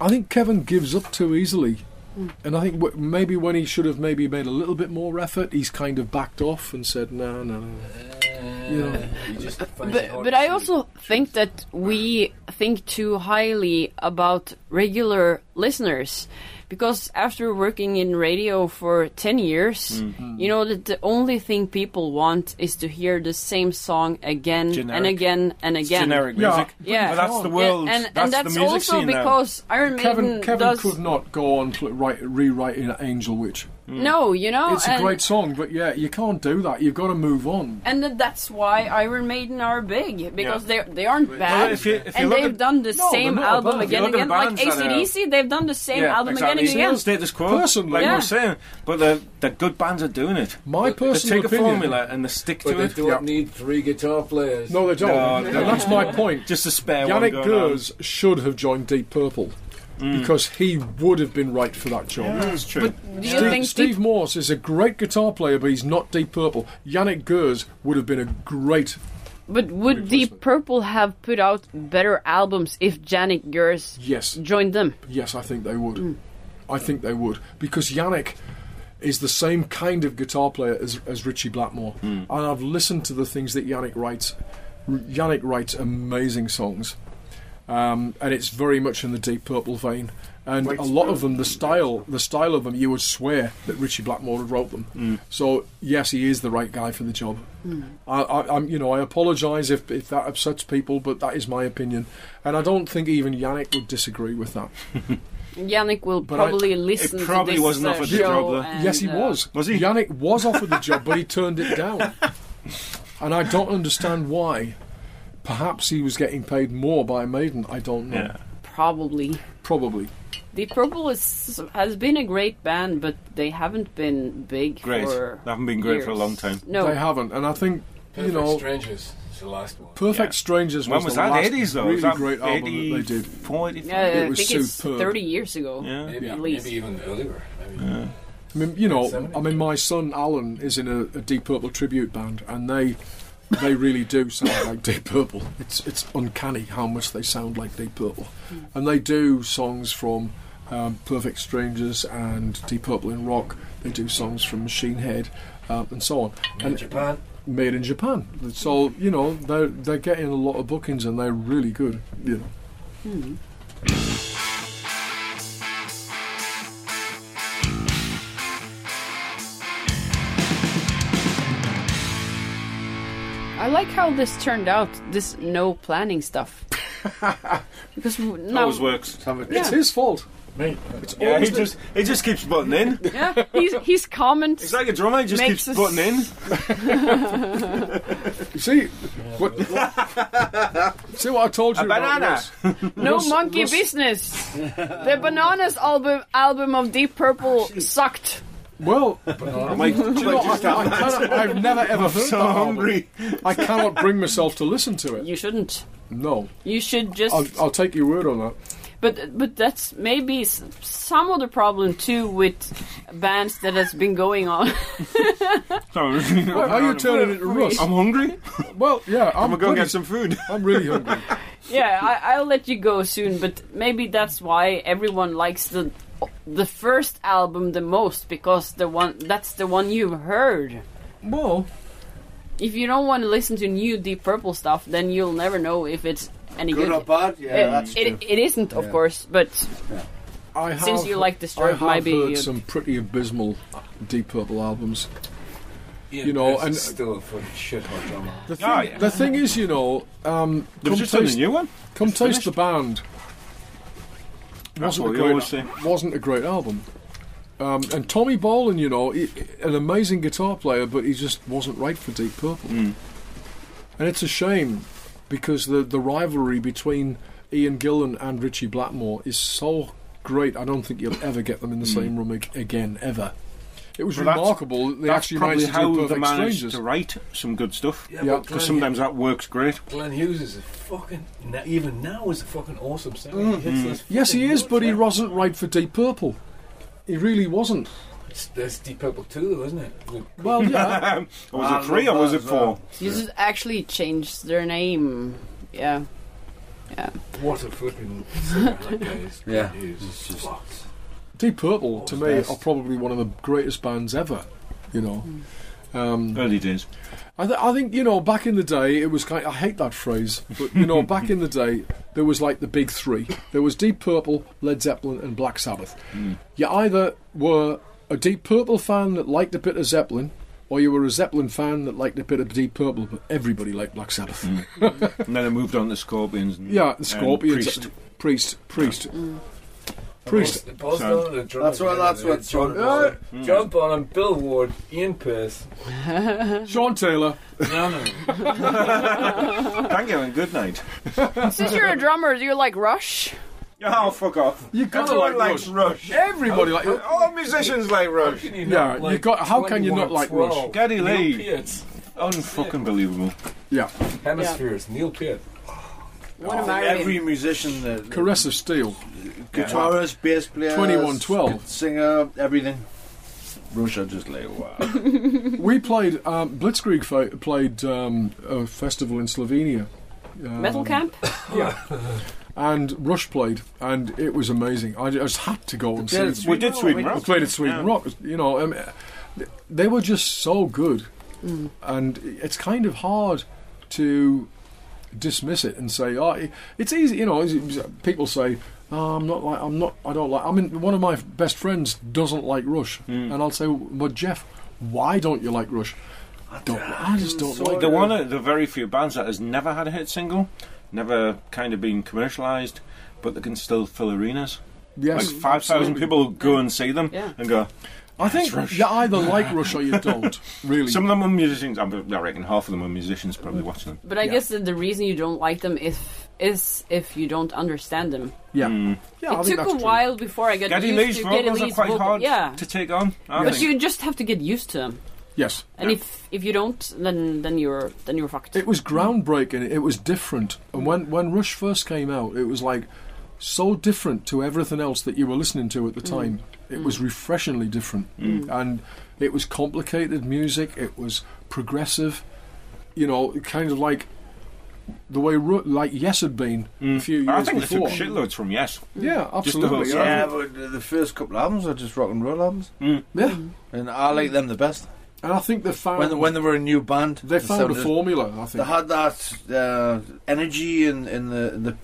[SPEAKER 2] I think Kevin gives up too easily. And I think w- maybe when he should have maybe made a little bit more effort, he's kind of backed off and said, "No, no, no." You know,
[SPEAKER 7] He just finds it
[SPEAKER 1] But,
[SPEAKER 7] hard
[SPEAKER 1] but
[SPEAKER 7] to
[SPEAKER 1] I
[SPEAKER 7] see.
[SPEAKER 1] also think that we think too highly about regular listeners. Because after working in radio for 10 years,
[SPEAKER 5] Mm-hmm.
[SPEAKER 1] you know that the only thing people want is to hear the same song again and
[SPEAKER 5] Generic.
[SPEAKER 1] again and
[SPEAKER 5] It's
[SPEAKER 1] again.
[SPEAKER 5] generic
[SPEAKER 2] Yeah.
[SPEAKER 5] music.
[SPEAKER 1] Yeah.
[SPEAKER 5] But that's the world.
[SPEAKER 1] And, and
[SPEAKER 5] that's
[SPEAKER 1] that's
[SPEAKER 5] the music
[SPEAKER 1] also
[SPEAKER 5] scene now.
[SPEAKER 1] because Iron Maiden
[SPEAKER 2] Kevin Kevin
[SPEAKER 1] does.
[SPEAKER 2] could not go on pl- write, rewriting Angel Witch.
[SPEAKER 1] No, you know?
[SPEAKER 2] It's a
[SPEAKER 1] Oh, and,
[SPEAKER 2] great song, but yeah, you can't do that. You've got to move on.
[SPEAKER 1] and that- that's why Iron Maiden are big because they they aren't
[SPEAKER 5] Well,
[SPEAKER 1] bad,
[SPEAKER 5] if you- if you
[SPEAKER 1] and
[SPEAKER 5] look
[SPEAKER 1] they've
[SPEAKER 5] at-
[SPEAKER 1] done the
[SPEAKER 2] No, they're
[SPEAKER 1] same
[SPEAKER 2] not
[SPEAKER 1] album
[SPEAKER 2] bad.
[SPEAKER 1] again
[SPEAKER 5] If
[SPEAKER 1] and
[SPEAKER 5] you
[SPEAKER 1] again.
[SPEAKER 5] look at
[SPEAKER 1] Like
[SPEAKER 5] the bands that are-
[SPEAKER 1] ACDC, they've done the same
[SPEAKER 5] Yeah,
[SPEAKER 1] album
[SPEAKER 5] exactly.
[SPEAKER 1] again and
[SPEAKER 5] Still
[SPEAKER 1] again.
[SPEAKER 5] status quo.
[SPEAKER 2] Personally-
[SPEAKER 5] like
[SPEAKER 1] Yeah.
[SPEAKER 5] we're saying, but the the good bands are doing it.
[SPEAKER 2] My personal
[SPEAKER 5] they take
[SPEAKER 2] opinion.
[SPEAKER 5] a formula and they stick
[SPEAKER 7] But
[SPEAKER 5] to
[SPEAKER 7] they
[SPEAKER 5] it.
[SPEAKER 7] don't need three guitar players.
[SPEAKER 2] No, they don't.
[SPEAKER 5] No, they
[SPEAKER 2] and that's my point.
[SPEAKER 5] Just a spare one.
[SPEAKER 2] Yannick
[SPEAKER 5] going
[SPEAKER 2] Gers should have joined Deep Purple because he would have been right for that job.
[SPEAKER 5] on. That's true.
[SPEAKER 1] Do you
[SPEAKER 2] Steve,
[SPEAKER 1] think
[SPEAKER 2] Steve
[SPEAKER 1] peop-
[SPEAKER 2] Morse is a great guitar player, but he's not Deep Purple. Yannick Gers would have been a great.
[SPEAKER 1] but would Deep Purple have put out better albums if Janik Gers
[SPEAKER 2] Yes,
[SPEAKER 1] joined them?
[SPEAKER 2] yes, I think they would. I think they would because Yannick is the same kind of guitar player as, as Richie Blackmore, and I've listened to the things that Yannick writes. R- Yannick writes amazing songs, um, and it's very much in the Deep Purple vein. And a lot of them, the style, the style of them, you would swear that Richie Blackmore had wrote them. So yes, he is the right guy for the job. I, I, I'm, you know, I apologise if, if that upsets people, but that is my opinion, and I don't think even Yannick would disagree with that.
[SPEAKER 1] Yannick will
[SPEAKER 2] But I-
[SPEAKER 1] probably listen
[SPEAKER 5] probably
[SPEAKER 1] to this
[SPEAKER 5] wasn't
[SPEAKER 1] uh,
[SPEAKER 5] offered the
[SPEAKER 1] show.
[SPEAKER 5] job, though.
[SPEAKER 1] and,
[SPEAKER 2] yes, he
[SPEAKER 1] uh,
[SPEAKER 2] was.
[SPEAKER 5] Was he?
[SPEAKER 2] Yannick was offered the job, but he turned it down, and I don't understand why. Perhaps he was getting paid more by Maiden. I don't know.
[SPEAKER 5] Yeah.
[SPEAKER 1] Probably.
[SPEAKER 2] Probably.
[SPEAKER 1] Deep Purple is, has been a great band, but they haven't been big
[SPEAKER 5] Great.
[SPEAKER 1] for
[SPEAKER 5] They haven't been great for a
[SPEAKER 1] years.
[SPEAKER 5] long time.
[SPEAKER 1] No,
[SPEAKER 2] They haven't, and I think
[SPEAKER 7] Perfect
[SPEAKER 2] you know,
[SPEAKER 7] Strangers is the last one.
[SPEAKER 2] Perfect
[SPEAKER 5] Yeah.
[SPEAKER 2] Strangers
[SPEAKER 5] When
[SPEAKER 2] was,
[SPEAKER 5] was
[SPEAKER 2] the
[SPEAKER 5] that?
[SPEAKER 2] last
[SPEAKER 5] Eighties though.
[SPEAKER 2] really
[SPEAKER 5] was that
[SPEAKER 2] great album that they did.
[SPEAKER 5] 40,
[SPEAKER 1] Yeah, uh, I
[SPEAKER 2] was
[SPEAKER 1] think it's
[SPEAKER 2] superb.
[SPEAKER 1] 30 years ago.
[SPEAKER 5] Yeah.
[SPEAKER 7] Maybe,
[SPEAKER 2] Yeah.
[SPEAKER 1] At least.
[SPEAKER 7] maybe even earlier. Maybe.
[SPEAKER 2] I mean, you know,
[SPEAKER 7] Seventy.
[SPEAKER 2] I mean, my son Alan is in a, a Deep Purple tribute band, and they they really do sound like Deep Purple. It's it's uncanny how much they sound like Deep Purple, and they do songs from um, Perfect Strangers and Deep Purple in Rock. They do songs from Machine Head. Um, and so on,
[SPEAKER 7] In
[SPEAKER 2] and
[SPEAKER 7] Japan.
[SPEAKER 2] made in Japan. So you know they're they're getting a lot of bookings, and they're really good. You know.
[SPEAKER 1] I like how this turned out, this no planning stuff. because w- now.
[SPEAKER 5] Always works.
[SPEAKER 2] It's his fault. Mate, it's
[SPEAKER 5] Yeah, he
[SPEAKER 2] always the-
[SPEAKER 5] just he just keeps butting in.
[SPEAKER 1] [laughs] Yeah, he's, he's comments.
[SPEAKER 5] It's like a drummer. He just
[SPEAKER 1] Makes
[SPEAKER 5] keeps
[SPEAKER 1] us-
[SPEAKER 5] butting
[SPEAKER 1] [laughs]
[SPEAKER 5] in.
[SPEAKER 2] see what, [laughs] see what I told you.
[SPEAKER 5] A
[SPEAKER 2] about
[SPEAKER 5] banana.
[SPEAKER 2] Russ?
[SPEAKER 1] No
[SPEAKER 2] Russ-
[SPEAKER 1] monkey
[SPEAKER 2] Russ-
[SPEAKER 1] business. The Bananas album album of Deep Purple sucked.
[SPEAKER 2] [laughs] Well,
[SPEAKER 5] [laughs] I'm like, do you know
[SPEAKER 2] I,
[SPEAKER 5] what, I-
[SPEAKER 2] I cannot, I've [laughs] never ever heard
[SPEAKER 5] I'm so
[SPEAKER 2] that album.
[SPEAKER 5] hungry.
[SPEAKER 2] I cannot bring myself to listen to it.
[SPEAKER 1] You shouldn't.
[SPEAKER 2] No,
[SPEAKER 1] You should just.
[SPEAKER 2] I'll, I'll take your word on that.
[SPEAKER 1] But but that's maybe s- some of the problem too with bands that has been going on.
[SPEAKER 5] [laughs] Sorry.
[SPEAKER 2] How
[SPEAKER 5] [laughs]
[SPEAKER 2] are you turning it to Russ?
[SPEAKER 5] I'm hungry.
[SPEAKER 2] well, yeah,
[SPEAKER 5] I'm
[SPEAKER 2] I'm,
[SPEAKER 5] gonna go
[SPEAKER 2] bloody-
[SPEAKER 5] get some food.
[SPEAKER 2] I'm really hungry.
[SPEAKER 1] yeah, I, I'll let you go soon. But maybe that's why everyone likes the the first album the most because the one that's the one you've heard.
[SPEAKER 2] [laughs] well,
[SPEAKER 1] If you don't want to listen to new Deep Purple stuff, then you'll never know if it's any
[SPEAKER 9] Good
[SPEAKER 1] good.
[SPEAKER 9] or bad? Yeah,
[SPEAKER 1] It-
[SPEAKER 9] that's
[SPEAKER 1] it,
[SPEAKER 9] true.
[SPEAKER 1] it isn't, of
[SPEAKER 9] Yeah.
[SPEAKER 1] course, but
[SPEAKER 2] I have,
[SPEAKER 1] since you like
[SPEAKER 2] I
[SPEAKER 1] Disturbed,
[SPEAKER 2] have
[SPEAKER 1] maybe
[SPEAKER 2] heard
[SPEAKER 1] you
[SPEAKER 2] some pretty abysmal Deep Purple albums.
[SPEAKER 7] Ian
[SPEAKER 2] You know,
[SPEAKER 7] Pearce
[SPEAKER 2] and-
[SPEAKER 7] is still a fucking shithole drummer.
[SPEAKER 2] The thing,
[SPEAKER 5] Yeah, yeah.
[SPEAKER 2] the thing is, you know, um,
[SPEAKER 5] There
[SPEAKER 2] come
[SPEAKER 5] was just a
[SPEAKER 2] taste,
[SPEAKER 5] new one.
[SPEAKER 2] come taste the band
[SPEAKER 5] That's
[SPEAKER 2] wasn't
[SPEAKER 5] what
[SPEAKER 2] a
[SPEAKER 5] we eh?
[SPEAKER 2] great,
[SPEAKER 5] always say.
[SPEAKER 2] wasn't a great album. Um, and Tommy Bolin, you know, he, an amazing guitar player, but he just wasn't right for Deep Purple.
[SPEAKER 5] Hmm.
[SPEAKER 2] And it's a shame because the the rivalry between Ian Gillan and Richie Blackmore is so great. I don't think you'll ever get them in the same room ag- again ever. It was
[SPEAKER 5] Hmm. Well, that's-
[SPEAKER 2] remarkable that they
[SPEAKER 5] That's
[SPEAKER 2] actually
[SPEAKER 5] probably
[SPEAKER 2] managed to
[SPEAKER 5] how
[SPEAKER 2] do
[SPEAKER 5] they
[SPEAKER 2] Perfect
[SPEAKER 5] managed
[SPEAKER 2] Strangers.
[SPEAKER 5] to write some good stuff.
[SPEAKER 7] Yeah,
[SPEAKER 2] Yeah,
[SPEAKER 7] but Glenn,
[SPEAKER 5] Because sometimes that works great.
[SPEAKER 7] Glenn Hughes is a fucking na- even now is a fucking awesome singer. He hits those
[SPEAKER 2] Mm-hmm. Yes, he
[SPEAKER 7] fucking
[SPEAKER 2] is,
[SPEAKER 7] notes,
[SPEAKER 2] but he
[SPEAKER 7] man.
[SPEAKER 2] wasn't right for Deep Purple. He really wasn't.
[SPEAKER 7] It's- That's Deep Purple too, though, isn't it?
[SPEAKER 2] Well, Oh,
[SPEAKER 5] [laughs]
[SPEAKER 2] yeah.
[SPEAKER 5] Um, or was
[SPEAKER 9] I
[SPEAKER 5] it three or
[SPEAKER 9] love
[SPEAKER 5] was
[SPEAKER 9] that
[SPEAKER 5] it
[SPEAKER 9] as well.
[SPEAKER 5] four?
[SPEAKER 1] you just actually changed their name. Yeah.
[SPEAKER 7] What a fucking singer that guy is. Glenn
[SPEAKER 9] Yeah.
[SPEAKER 7] Hughes is fucked.
[SPEAKER 2] Deep Purple to me
[SPEAKER 7] Best.
[SPEAKER 2] are probably one of the greatest bands ever. You know, um,
[SPEAKER 5] Early days.
[SPEAKER 2] I, th- I think you know back in the day it was kind. I hate that phrase, but you know back [laughs] in the day there was like the big three. There was Deep Purple, Led Zeppelin, and Black Sabbath.
[SPEAKER 5] Mm,
[SPEAKER 2] You either were a Deep Purple fan that liked a bit of Zeppelin. Or you were a Zeppelin fan that liked a bit of Deep Purple, but everybody liked Black Sabbath.
[SPEAKER 5] And mm. then I moved on to Scorpions. And,
[SPEAKER 2] Yeah, the
[SPEAKER 5] and
[SPEAKER 2] Scorpions,
[SPEAKER 5] Priest.
[SPEAKER 2] Priest, Priest, Priest.
[SPEAKER 7] Bos- Boston and drummer
[SPEAKER 9] That's what- that's what
[SPEAKER 7] John.
[SPEAKER 9] John-
[SPEAKER 7] Bonham.
[SPEAKER 2] Hmm.
[SPEAKER 7] John Bonham, Bill Ward,
[SPEAKER 2] [laughs]
[SPEAKER 7] Ian Pearce.
[SPEAKER 2] Sean Taylor.
[SPEAKER 7] No, no, no.
[SPEAKER 5] Thank you and good night.
[SPEAKER 1] Since you're a drummer, do you like Rush?
[SPEAKER 5] Oh, fuck off.
[SPEAKER 2] You gotta
[SPEAKER 5] Everyone
[SPEAKER 2] like
[SPEAKER 5] likes Rush.
[SPEAKER 2] Everybody like.
[SPEAKER 5] All musicians like Rush.
[SPEAKER 7] Can you
[SPEAKER 2] Yeah,
[SPEAKER 7] not
[SPEAKER 2] you
[SPEAKER 7] like
[SPEAKER 2] got- how can you not like
[SPEAKER 7] 21,
[SPEAKER 2] Rush?
[SPEAKER 7] 12?
[SPEAKER 5] Geddy
[SPEAKER 7] Neil
[SPEAKER 5] Lee.
[SPEAKER 7] Peart.
[SPEAKER 5] Unfucking believable.
[SPEAKER 2] Yeah,
[SPEAKER 7] Hemispheres, Neil Peart.
[SPEAKER 1] Want to marry
[SPEAKER 9] Every
[SPEAKER 1] him?
[SPEAKER 9] musician, the, the
[SPEAKER 2] Caress of Steel.
[SPEAKER 9] guitarist, bass player,
[SPEAKER 2] 2112.
[SPEAKER 9] singer, everything. Russia just like wow.
[SPEAKER 2] We played um, Blitzkrieg fa- played um, a festival in Slovenia. Um,
[SPEAKER 1] Metal Camp?
[SPEAKER 2] and Rush played, and it was amazing. I just had to go and see.
[SPEAKER 9] Yeah,
[SPEAKER 2] them.
[SPEAKER 9] it's-
[SPEAKER 5] We did
[SPEAKER 2] We
[SPEAKER 5] Sweden Rock.
[SPEAKER 2] played at Sweden Rock. You know, um, they were just so good,
[SPEAKER 1] Mm.
[SPEAKER 2] and it's kind of hard to dismiss it and say, "Oh, it- it's easy." You know, it's- it's- people say, oh, "I'm not like I'm not I don't like." I mean, one of my best friends doesn't like Rush,
[SPEAKER 5] Mm.
[SPEAKER 2] and I'll say, "But Jeff, why don't you like Rush?" I don't. I just don't like.
[SPEAKER 5] The
[SPEAKER 2] it."
[SPEAKER 5] one of the very few bands that has never had a hit single, never kind of been commercialised, but they can still fill arenas.
[SPEAKER 2] Yes,
[SPEAKER 5] like 5,000
[SPEAKER 2] absolutely.
[SPEAKER 5] people go and see them
[SPEAKER 1] Yeah.
[SPEAKER 5] and go,
[SPEAKER 2] I think
[SPEAKER 5] Rush.
[SPEAKER 2] you either
[SPEAKER 5] [laughs]
[SPEAKER 2] like Rush or you don't. Really,
[SPEAKER 5] Some of them are musicians. I reckon half of them are musicians probably
[SPEAKER 2] Mm.
[SPEAKER 5] watching them.
[SPEAKER 1] But I
[SPEAKER 2] Yeah.
[SPEAKER 1] guess that the reason you don't like them is is if you don't understand them.
[SPEAKER 2] yeah, yeah. I
[SPEAKER 1] it
[SPEAKER 2] think
[SPEAKER 1] took
[SPEAKER 2] that's
[SPEAKER 1] a
[SPEAKER 2] true.
[SPEAKER 1] while before I got
[SPEAKER 5] Hmm. Geddy
[SPEAKER 1] used
[SPEAKER 5] Lee's
[SPEAKER 1] to Geddy
[SPEAKER 5] vocals are
[SPEAKER 1] Lee's
[SPEAKER 5] quite
[SPEAKER 1] vocal-
[SPEAKER 5] hard
[SPEAKER 1] Yeah,
[SPEAKER 5] to take on. I
[SPEAKER 1] but
[SPEAKER 5] think.
[SPEAKER 1] you just have to get used to them.
[SPEAKER 2] Yes,
[SPEAKER 1] And if if you don't, then then you're then you're fucked.
[SPEAKER 2] It was groundbreaking. It was different. And when, when Rush first came out, it was like so different to everything else that you were listening to at the time. It was refreshingly different. And it was complicated music, it was progressive, you know, kind of like the way Ru- like Yes had been a few years
[SPEAKER 5] Hmm. I think they
[SPEAKER 2] before.
[SPEAKER 5] took shitloads from Yes.
[SPEAKER 2] Yeah,
[SPEAKER 5] Just the whole
[SPEAKER 2] absolutely.
[SPEAKER 5] sound.
[SPEAKER 9] yeah, but the first couple albums are just rock and roll albums,
[SPEAKER 5] Hmm.
[SPEAKER 2] yeah.
[SPEAKER 9] and I like them the best.
[SPEAKER 2] And I think they found
[SPEAKER 9] When when they were a new band,
[SPEAKER 2] Um, they found a
[SPEAKER 9] sounded-
[SPEAKER 2] formula, I
[SPEAKER 9] They
[SPEAKER 2] think.
[SPEAKER 9] had that uh, energy and in the in the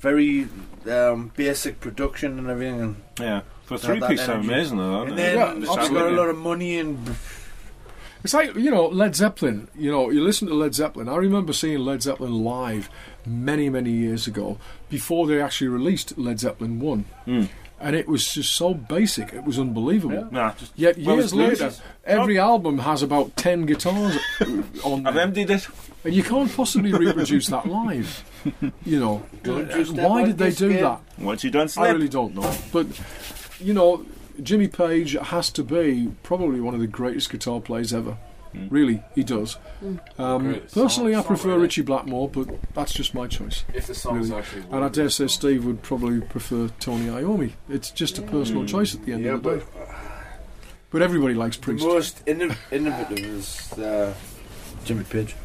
[SPEAKER 9] very um, basic production and everything, and,
[SPEAKER 5] Yeah. For
[SPEAKER 9] They had
[SPEAKER 5] three
[SPEAKER 9] that
[SPEAKER 5] piece, they're
[SPEAKER 9] energy.
[SPEAKER 5] amazing, though, aren't
[SPEAKER 9] and
[SPEAKER 5] they?
[SPEAKER 9] then
[SPEAKER 2] Yeah,
[SPEAKER 9] they
[SPEAKER 5] sound
[SPEAKER 9] got a
[SPEAKER 5] good.
[SPEAKER 9] lot of money and
[SPEAKER 2] It's like you know Led Zeppelin. You know you listen to Led Zeppelin. I remember seeing Led Zeppelin live many many years ago before they actually released Led Zeppelin One, and it was just so basic. It was unbelievable.
[SPEAKER 5] Hmm. Nah, just
[SPEAKER 2] Yet
[SPEAKER 5] Well,
[SPEAKER 2] years
[SPEAKER 5] it's blues.
[SPEAKER 2] later, every album has about ten guitars [laughs] on
[SPEAKER 5] I've
[SPEAKER 2] there.
[SPEAKER 5] emptied it.
[SPEAKER 2] And you can't possibly reproduce that live. You know,
[SPEAKER 9] Reproduce that
[SPEAKER 2] why
[SPEAKER 9] like
[SPEAKER 2] did they
[SPEAKER 9] this
[SPEAKER 2] do
[SPEAKER 9] game?
[SPEAKER 2] that?
[SPEAKER 5] Once you done
[SPEAKER 2] I
[SPEAKER 5] snip,
[SPEAKER 2] really don't know. But, you know, Jimmy Page has to be probably one of the greatest guitar players ever. Really, he does.
[SPEAKER 1] Hmm.
[SPEAKER 2] Um,
[SPEAKER 10] Great song-
[SPEAKER 2] personally, I prefer
[SPEAKER 10] songwriter.
[SPEAKER 2] Richie Blackmore, but that's just my choice.
[SPEAKER 10] If the song's
[SPEAKER 2] Really.
[SPEAKER 10] actually.
[SPEAKER 2] And I dare say Steve would probably prefer Tony Iommi. It's just a personal choice at the end
[SPEAKER 9] Yeah,
[SPEAKER 2] of the day.
[SPEAKER 9] but
[SPEAKER 2] But everybody likes
[SPEAKER 9] the
[SPEAKER 2] Priest.
[SPEAKER 9] most inno- innovative is uh, Jimmy Page.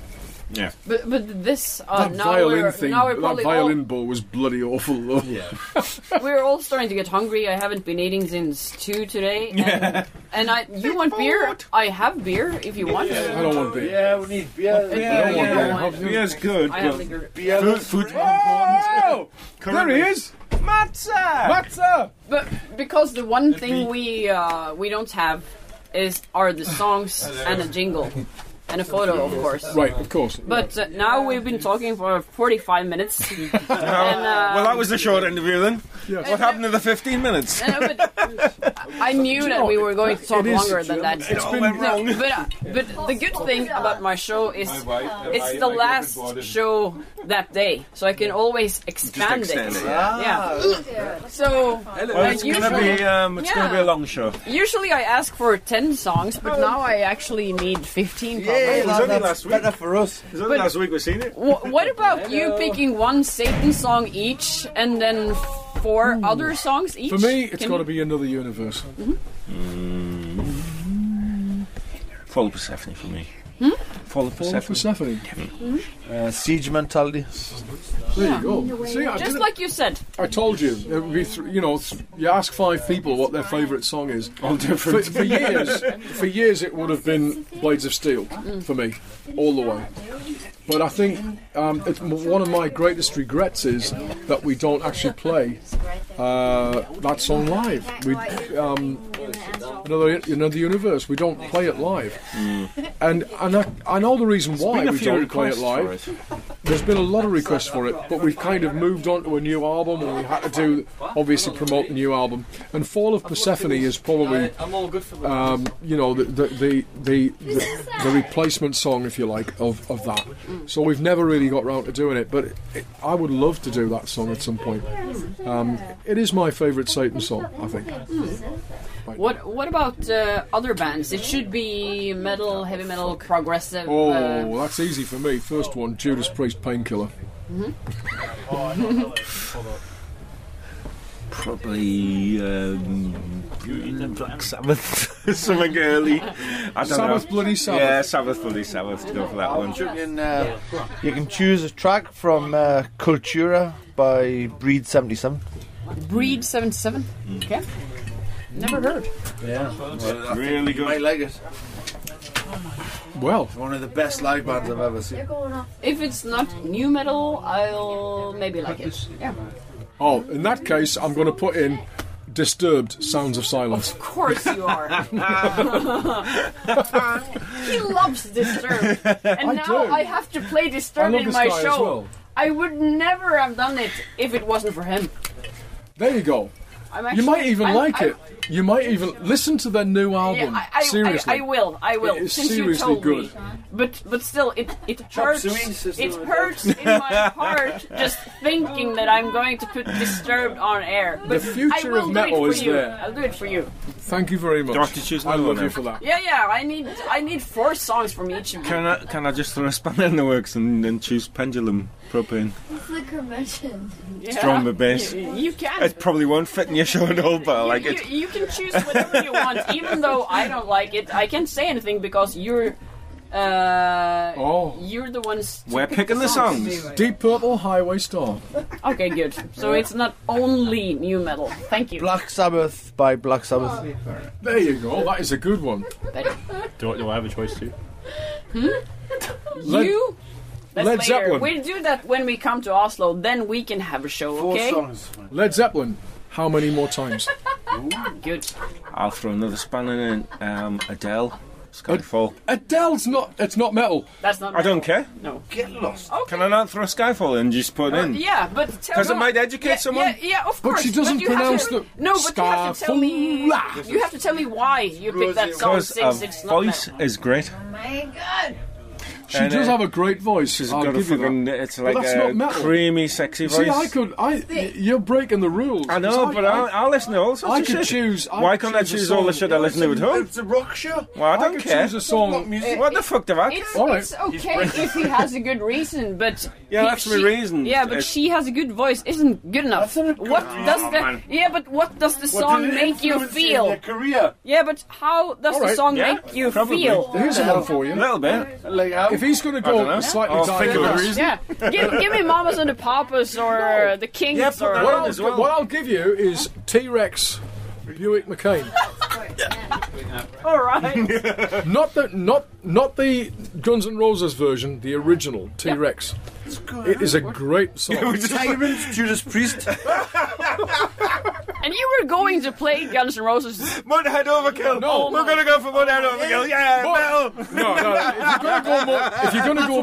[SPEAKER 1] But but this uh,
[SPEAKER 2] That
[SPEAKER 1] now
[SPEAKER 2] violin
[SPEAKER 1] we're
[SPEAKER 2] thing,
[SPEAKER 1] now we're
[SPEAKER 2] that
[SPEAKER 1] probably
[SPEAKER 2] violin bow was bloody awful, though.
[SPEAKER 10] Yeah.
[SPEAKER 1] all, [laughs] we're all starting to get hungry. I haven't been eating since two
[SPEAKER 2] [laughs]
[SPEAKER 1] today, and, and I you want beer? I have beer if you want.
[SPEAKER 2] I don't want to be.
[SPEAKER 9] Yeah, we need beer.
[SPEAKER 5] Yeah,
[SPEAKER 2] I don't
[SPEAKER 5] yeah.
[SPEAKER 2] want to be.
[SPEAKER 5] beer's good.
[SPEAKER 1] I have
[SPEAKER 5] But
[SPEAKER 1] liquor.
[SPEAKER 9] beer.
[SPEAKER 5] food, food's more important.
[SPEAKER 2] There he is! Matzah!
[SPEAKER 1] But because the one thing we uh, we don't have is are the songs and a jingle and a photo, of course.
[SPEAKER 2] Right, of course.
[SPEAKER 1] But uh, now we've been talking for 45 minutes. and, uh,
[SPEAKER 5] well, that was the short interview then.
[SPEAKER 2] Yes.
[SPEAKER 5] What happened to the 15 minutes?
[SPEAKER 1] no, but I knew that we were going to talk
[SPEAKER 2] it is-
[SPEAKER 1] longer than that.
[SPEAKER 2] it's been-
[SPEAKER 1] No, but, uh, but the good thing about my show is it's the last show that day, so I can always expand
[SPEAKER 5] extend it,
[SPEAKER 1] Yeah. So
[SPEAKER 5] Well, it's
[SPEAKER 1] And
[SPEAKER 5] going to
[SPEAKER 1] usually-
[SPEAKER 5] be um, it's going to be
[SPEAKER 1] Yeah.
[SPEAKER 5] a long show.
[SPEAKER 1] usually I ask for 10 songs, but now I actually need 15 probably.
[SPEAKER 9] Yeah,
[SPEAKER 5] was only
[SPEAKER 9] that's
[SPEAKER 5] last week.
[SPEAKER 9] better for us.
[SPEAKER 5] It's only last week we've seen it.
[SPEAKER 1] Wh- what about you picking one Satan song each and then four other songs each?
[SPEAKER 2] For me, it's
[SPEAKER 1] Can-
[SPEAKER 2] got to be another universe.
[SPEAKER 5] Follow Mm. Persephone for me.
[SPEAKER 1] Hmm?
[SPEAKER 5] Follow
[SPEAKER 2] Fall for
[SPEAKER 5] Persephone.
[SPEAKER 2] Persephone.
[SPEAKER 4] Uh, siege mentality.
[SPEAKER 2] There you go. See, I,
[SPEAKER 1] Just
[SPEAKER 2] didn't-
[SPEAKER 1] like you said,
[SPEAKER 2] I told you, it would be th- you know, th- you ask five people what their favourite song is. All different. For, for years, for years, it would have been Blades of Steel for me, all the way. But I think um, it's m- one of my greatest regrets is that we don't actually play uh, that song live. We um, another another universe. We don't play it live, and and I, I know the reason why
[SPEAKER 5] Been a
[SPEAKER 2] we
[SPEAKER 5] few
[SPEAKER 2] don't play it
[SPEAKER 5] requests
[SPEAKER 2] live.
[SPEAKER 5] for it.
[SPEAKER 2] There's been a lot of requests for it, but we've kind of moved on to a new album, and we had to do obviously promote the new album. And Fall of Persephone is probably,
[SPEAKER 10] I'm all good for that.
[SPEAKER 2] um, you know, the the, the the the the replacement song, if you like, of, of that. So we've never really got round to doing it, but it, I would love to do that song at some point. Um, it is my favourite Satan song, I think.
[SPEAKER 1] what what about uh, other bands? It should be metal, heavy metal, progressive. uh,
[SPEAKER 2] Oh, that's easy for me. First one, Judas Priest, Painkiller.
[SPEAKER 5] Probably [laughs] um,
[SPEAKER 1] [laughs]
[SPEAKER 5] Black Sabbath, something early. I don't
[SPEAKER 2] Sabbath,
[SPEAKER 5] know.
[SPEAKER 2] Bloody Sabbath.
[SPEAKER 5] Yeah, Sabbath, Bloody Sabbath. Go for that one.
[SPEAKER 9] Chugging, uh,
[SPEAKER 4] You can choose a track from uh, Cultura by Breed 77.
[SPEAKER 1] Breed seventy seven.
[SPEAKER 2] Mm.
[SPEAKER 1] Okay. Never heard.
[SPEAKER 5] Really
[SPEAKER 9] you might
[SPEAKER 5] good.
[SPEAKER 9] like it.
[SPEAKER 2] Well,
[SPEAKER 9] One of the best live bands I've ever seen.
[SPEAKER 1] If it's not new metal, I'll maybe like it. Yeah.
[SPEAKER 2] oh, in that case, I'm going to put in Disturbed, Sounds of Silence.
[SPEAKER 1] Of course you are. [laughs] he loves
[SPEAKER 2] [laughs]
[SPEAKER 1] Disturbed, and
[SPEAKER 2] I
[SPEAKER 1] now
[SPEAKER 2] do.
[SPEAKER 1] I have to play
[SPEAKER 2] I
[SPEAKER 1] Disturbed
[SPEAKER 2] love
[SPEAKER 1] in
[SPEAKER 2] this
[SPEAKER 1] my
[SPEAKER 2] guy
[SPEAKER 1] show.
[SPEAKER 2] as well.
[SPEAKER 1] I would never have done it if it wasn't for him.
[SPEAKER 2] There you go.
[SPEAKER 1] I'm actually,
[SPEAKER 2] You might even
[SPEAKER 1] I'm-
[SPEAKER 2] like
[SPEAKER 1] I'm-
[SPEAKER 2] it. You might even listen to their new
[SPEAKER 1] Yeah,
[SPEAKER 2] album.
[SPEAKER 1] I, I,
[SPEAKER 2] seriously,
[SPEAKER 1] I, I will. I will.
[SPEAKER 2] It is
[SPEAKER 1] since you
[SPEAKER 2] seriously
[SPEAKER 1] told
[SPEAKER 2] good.
[SPEAKER 1] me. But but still, it it hurts.
[SPEAKER 9] suey system
[SPEAKER 1] It
[SPEAKER 9] with
[SPEAKER 1] hurts in
[SPEAKER 2] [laughs]
[SPEAKER 1] my heart just thinking that I'm going to put Disturbed on air. But
[SPEAKER 2] future
[SPEAKER 1] I will
[SPEAKER 2] of
[SPEAKER 1] do
[SPEAKER 2] metal
[SPEAKER 1] it for
[SPEAKER 2] is
[SPEAKER 1] you.
[SPEAKER 2] there.
[SPEAKER 1] I'll do it for you.
[SPEAKER 2] thank you very much.
[SPEAKER 5] Do I have to choose
[SPEAKER 2] I
[SPEAKER 5] another
[SPEAKER 2] love you
[SPEAKER 5] one now?
[SPEAKER 2] for that.
[SPEAKER 1] Yeah, yeah. I need I need four songs from each of you.
[SPEAKER 5] Can I, can I just throw a spanner in the works and, and choose Pendulum Propane?
[SPEAKER 11] It's the convention.
[SPEAKER 1] Yeah.
[SPEAKER 5] Drummer bass.
[SPEAKER 1] You, you can.
[SPEAKER 5] It probably won't fit in your show at all, but I like
[SPEAKER 1] you,
[SPEAKER 5] it.
[SPEAKER 1] you, you can choose whatever you want, even though I don't like it. I can't say anything because you're, uh,
[SPEAKER 2] Oh,
[SPEAKER 1] you're the ones. to
[SPEAKER 5] We're
[SPEAKER 1] pick
[SPEAKER 5] picking the songs.
[SPEAKER 2] Deep Purple, Highway Star.
[SPEAKER 1] Okay, good. So it's not only new metal. Thank you.
[SPEAKER 4] Black Sabbath by Black Sabbath.
[SPEAKER 2] There you go. That is a good one.
[SPEAKER 10] Do, I- do I have a choice too?
[SPEAKER 2] Led-
[SPEAKER 1] Hmm? you. That's
[SPEAKER 2] Led
[SPEAKER 1] later.
[SPEAKER 2] Zeppelin.
[SPEAKER 1] We'll do that when we come to Oslo. Then we can have a show.
[SPEAKER 9] Four
[SPEAKER 1] Okay.
[SPEAKER 9] songs.
[SPEAKER 2] Led Zeppelin.
[SPEAKER 1] [laughs]
[SPEAKER 2] How many more times?
[SPEAKER 1] Good.
[SPEAKER 5] I'll throw another spanner in um, Adele. Skyfall.
[SPEAKER 2] Adele's not. It's not metal.
[SPEAKER 1] That's not.
[SPEAKER 5] I don't care.
[SPEAKER 1] No.
[SPEAKER 9] Get lost.
[SPEAKER 1] Okay.
[SPEAKER 5] Can I not throw Skyfall in? Just put it in.
[SPEAKER 1] Yeah, but tell
[SPEAKER 5] 'Cause it
[SPEAKER 1] me-
[SPEAKER 5] might educate
[SPEAKER 1] yeah,
[SPEAKER 5] someone.
[SPEAKER 1] Yeah, yeah, of
[SPEAKER 2] But
[SPEAKER 1] course.
[SPEAKER 2] she doesn't
[SPEAKER 1] you have
[SPEAKER 2] pronounce
[SPEAKER 1] to,
[SPEAKER 2] the
[SPEAKER 1] No, but you have to tell me.
[SPEAKER 2] Scarfulla.
[SPEAKER 1] You have to tell me why you picked that song
[SPEAKER 5] Because
[SPEAKER 1] since
[SPEAKER 5] a
[SPEAKER 1] it's not
[SPEAKER 5] voice
[SPEAKER 1] metal.
[SPEAKER 5] is great.
[SPEAKER 2] She
[SPEAKER 5] And,
[SPEAKER 2] does
[SPEAKER 5] uh,
[SPEAKER 2] have a great voice.
[SPEAKER 5] She's
[SPEAKER 2] I'll
[SPEAKER 5] got a
[SPEAKER 2] give you that.
[SPEAKER 5] fucking. It's like
[SPEAKER 2] that's
[SPEAKER 5] a
[SPEAKER 2] not metal.
[SPEAKER 5] creamy, sexy voice.
[SPEAKER 2] See, I could. I. y- You're breaking the rules.
[SPEAKER 5] I know,
[SPEAKER 2] 'Cause
[SPEAKER 5] but I, I, listen to all sorts
[SPEAKER 2] I
[SPEAKER 5] of
[SPEAKER 2] could
[SPEAKER 5] shit.
[SPEAKER 2] choose- I
[SPEAKER 5] Why
[SPEAKER 2] could
[SPEAKER 5] can't I
[SPEAKER 2] choose a
[SPEAKER 5] choose all the
[SPEAKER 2] song.
[SPEAKER 5] shit I listen to at home?
[SPEAKER 9] It's a rock show.
[SPEAKER 5] Well, I
[SPEAKER 2] I
[SPEAKER 5] don't
[SPEAKER 2] could
[SPEAKER 5] care.
[SPEAKER 2] choose a song.
[SPEAKER 9] Rock music.
[SPEAKER 5] What the fuck do I?
[SPEAKER 1] It's,
[SPEAKER 2] All right.
[SPEAKER 1] it's okay if he has a good reason, but
[SPEAKER 5] Yeah,
[SPEAKER 1] he-
[SPEAKER 5] that's
[SPEAKER 1] she,
[SPEAKER 5] my reason.
[SPEAKER 1] Yeah, but
[SPEAKER 5] It's-
[SPEAKER 1] she has a good voice. Isn't good enough.
[SPEAKER 9] That's not a good
[SPEAKER 1] what
[SPEAKER 9] reason,
[SPEAKER 1] does the
[SPEAKER 5] man.
[SPEAKER 1] yeah? But what does the
[SPEAKER 9] What
[SPEAKER 1] song
[SPEAKER 9] did it
[SPEAKER 1] make you
[SPEAKER 9] influence in
[SPEAKER 1] feel?
[SPEAKER 9] Your career.
[SPEAKER 1] Yeah, but how does
[SPEAKER 2] All
[SPEAKER 1] the
[SPEAKER 2] right,
[SPEAKER 1] song
[SPEAKER 5] yeah,
[SPEAKER 1] make you
[SPEAKER 5] probably.
[SPEAKER 1] feel?
[SPEAKER 2] Here's one for
[SPEAKER 5] A
[SPEAKER 2] you.
[SPEAKER 5] little bit.
[SPEAKER 9] Like, how-
[SPEAKER 2] If he's going to
[SPEAKER 5] I don't know.
[SPEAKER 2] go slightly
[SPEAKER 5] I'll think of a
[SPEAKER 2] diverse,
[SPEAKER 5] reason.
[SPEAKER 1] Yeah, give, give me Mamas and the Papas or uh, the Kings
[SPEAKER 5] Yeah, put
[SPEAKER 1] or
[SPEAKER 5] that
[SPEAKER 2] what
[SPEAKER 5] on
[SPEAKER 2] I'll,
[SPEAKER 5] as well.
[SPEAKER 2] what I'll give you is T Rex. Buick McCain,
[SPEAKER 1] all right.
[SPEAKER 2] not the not not the Guns N' Roses version, the original T Rex. It is a
[SPEAKER 5] [laughs]
[SPEAKER 2] great song.
[SPEAKER 9] Tyrant, Judas Priest.
[SPEAKER 1] and you were going to play Guns N' Roses.
[SPEAKER 5] Mudhead overkill.
[SPEAKER 2] No.
[SPEAKER 5] we're gonna go for Mudhead overkill. Yeah,
[SPEAKER 2] Mud- No,
[SPEAKER 5] metal.
[SPEAKER 2] no. If you're going to go, Mo- if you're going to go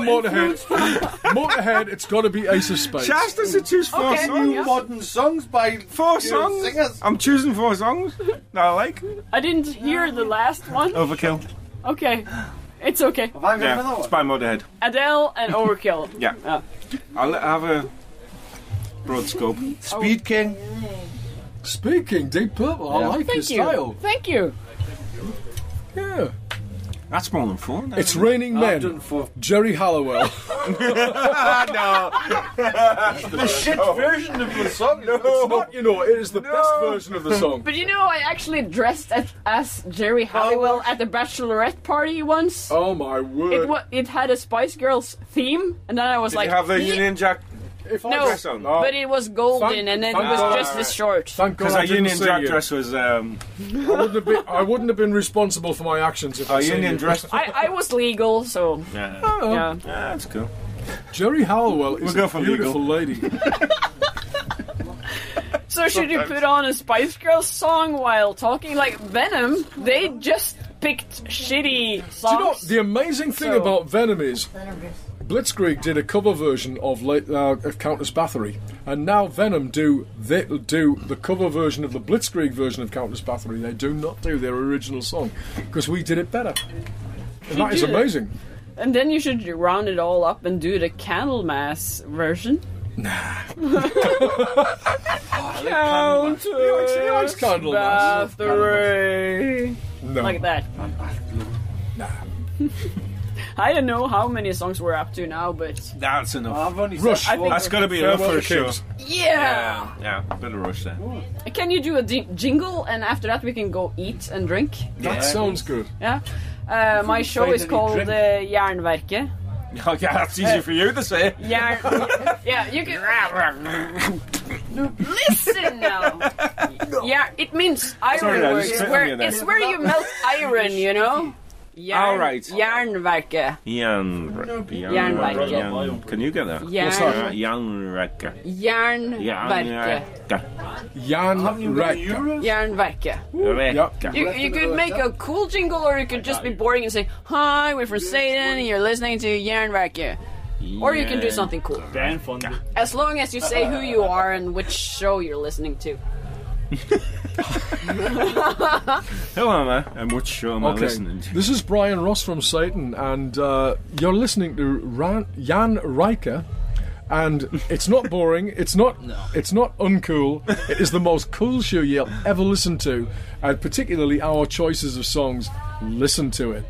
[SPEAKER 2] Motorhead, Motorhead, it's got to be Ace of Spades.
[SPEAKER 5] Shasta should choose four
[SPEAKER 1] Okay.
[SPEAKER 5] songs.
[SPEAKER 9] New modern songs by
[SPEAKER 5] Four
[SPEAKER 9] you know,
[SPEAKER 5] songs.
[SPEAKER 9] singers.
[SPEAKER 5] I'm choosing four songs that I like.
[SPEAKER 1] I didn't hear the last one.
[SPEAKER 5] Overkill.
[SPEAKER 1] Okay, it's okay.
[SPEAKER 9] Have I got another
[SPEAKER 5] Yeah,
[SPEAKER 9] one?
[SPEAKER 5] it's by Motorhead.
[SPEAKER 1] Adele and Overkill.
[SPEAKER 5] Yeah.
[SPEAKER 1] Yeah.
[SPEAKER 5] I'll have a broad scope.
[SPEAKER 9] Speed King.
[SPEAKER 2] Speaking Deep Purple, I like
[SPEAKER 1] Thank
[SPEAKER 2] his
[SPEAKER 1] you.
[SPEAKER 2] style.
[SPEAKER 1] Thank you.
[SPEAKER 2] Yeah,
[SPEAKER 5] That's more than four. no?
[SPEAKER 2] it's Raining
[SPEAKER 9] I've
[SPEAKER 2] Men.
[SPEAKER 9] done for
[SPEAKER 2] Jerry Halliwell.
[SPEAKER 5] [laughs] ah,
[SPEAKER 9] the shit version of the song.
[SPEAKER 2] [laughs] It's not, you know, it is the best
[SPEAKER 5] No.
[SPEAKER 2] version of the
[SPEAKER 5] [laughs]
[SPEAKER 2] song.
[SPEAKER 1] But you know, I actually dressed as, as Jerry Halliwell at the bachelorette party once.
[SPEAKER 2] Oh my word!
[SPEAKER 1] It wa- it had a Spice Girls theme, and then I was
[SPEAKER 5] no.
[SPEAKER 1] like,
[SPEAKER 5] Did you have the
[SPEAKER 1] "Ye-"
[SPEAKER 5] Union Jack? Oh,
[SPEAKER 2] if I
[SPEAKER 1] No.
[SPEAKER 2] dress up-
[SPEAKER 5] No.
[SPEAKER 1] but it was golden,
[SPEAKER 2] Thank-
[SPEAKER 1] and then it
[SPEAKER 2] thank
[SPEAKER 1] was
[SPEAKER 5] God.
[SPEAKER 1] just this short.
[SPEAKER 2] thank God
[SPEAKER 5] Because
[SPEAKER 2] I
[SPEAKER 5] our
[SPEAKER 2] didn't
[SPEAKER 5] Union
[SPEAKER 2] see
[SPEAKER 5] Jack
[SPEAKER 2] you.
[SPEAKER 5] dress was um,
[SPEAKER 2] I wouldn't, have been, I wouldn't have been responsible for my actions if I
[SPEAKER 5] our
[SPEAKER 2] seen
[SPEAKER 5] Union
[SPEAKER 2] you.
[SPEAKER 5] dress.
[SPEAKER 1] I, I was legal, so
[SPEAKER 5] Yeah,
[SPEAKER 2] Oh,
[SPEAKER 1] yeah.
[SPEAKER 5] that's cool.
[SPEAKER 2] Jerry Halliwell is
[SPEAKER 5] We'll go
[SPEAKER 2] a
[SPEAKER 5] for
[SPEAKER 2] beautiful
[SPEAKER 5] [laughs]
[SPEAKER 2] lady.
[SPEAKER 1] So should you put on a Spice Girls song while talking? Like Venom, they just picked shitty
[SPEAKER 2] Do you know
[SPEAKER 1] songs.
[SPEAKER 2] the amazing thing
[SPEAKER 1] So-
[SPEAKER 2] about Venom is Blitzkrieg did a cover version of, late, uh, of Countess Bathory, and now Venom do they do the cover version of the Blitzkrieg version of Countess Bathory. They do not do their original song because we did it better. And that is
[SPEAKER 1] did it.
[SPEAKER 2] amazing.
[SPEAKER 1] and then you should round it all up and do the Candlemass version. Nah.
[SPEAKER 2] likes- he likes Candlemass.
[SPEAKER 1] Bathory.
[SPEAKER 2] No,
[SPEAKER 1] Like that. [laughs] I don't know how many songs we're up to now, but
[SPEAKER 5] That's enough.
[SPEAKER 9] I've only
[SPEAKER 2] Rush.
[SPEAKER 1] I think
[SPEAKER 5] That's got to be enough
[SPEAKER 2] Farewell
[SPEAKER 5] for
[SPEAKER 2] to
[SPEAKER 5] a show.
[SPEAKER 2] Kings.
[SPEAKER 1] yeah.
[SPEAKER 5] Yeah, bit of rush there. [laughs]
[SPEAKER 1] Can you do a di- jingle and after that we can go eat and drink?
[SPEAKER 2] That sounds good.
[SPEAKER 1] Yeah. Uh, my show is
[SPEAKER 9] finally
[SPEAKER 1] called
[SPEAKER 9] drink.
[SPEAKER 1] uh, Jernverket.
[SPEAKER 5] Oh, yeah, that's easy for you to say.
[SPEAKER 1] Yarn.
[SPEAKER 5] [laughs]
[SPEAKER 1] yeah, you can. Listen now. Yeah, it means iron
[SPEAKER 5] Sorry, I
[SPEAKER 1] works.
[SPEAKER 5] just took
[SPEAKER 1] where,
[SPEAKER 5] me there.
[SPEAKER 1] it's where you melt iron, you know? Yarn,
[SPEAKER 5] All right.
[SPEAKER 1] Jernverket.
[SPEAKER 5] Jan,
[SPEAKER 1] Jernwerken.
[SPEAKER 5] Can you get that?
[SPEAKER 1] Jern-
[SPEAKER 5] Uh, Jernwerken.
[SPEAKER 1] Jernverket.
[SPEAKER 5] Jernwerken.
[SPEAKER 2] Jan Rek.
[SPEAKER 9] Euros?
[SPEAKER 1] Jernverket.
[SPEAKER 5] Werken.
[SPEAKER 1] You, you could make a cool jingle or you could just be boring and say, Hi, we're from Satan and you're listening to Jernverket. Or you can do something cool.
[SPEAKER 10] Dan Fonda.
[SPEAKER 1] As long as you say who [laughs] you are and which show you're listening to.
[SPEAKER 5] Who am I? And what show am I
[SPEAKER 2] Okay,
[SPEAKER 5] listening to?
[SPEAKER 2] this is Brian Ross from Satan, and uh, you're listening to Ran- Jan Riker.
[SPEAKER 5] [laughs]
[SPEAKER 2] And it's not boring. It's not. It's not uncool. It is the most cool show you'll ever listen to, and particularly our choices of songs. Listen to it.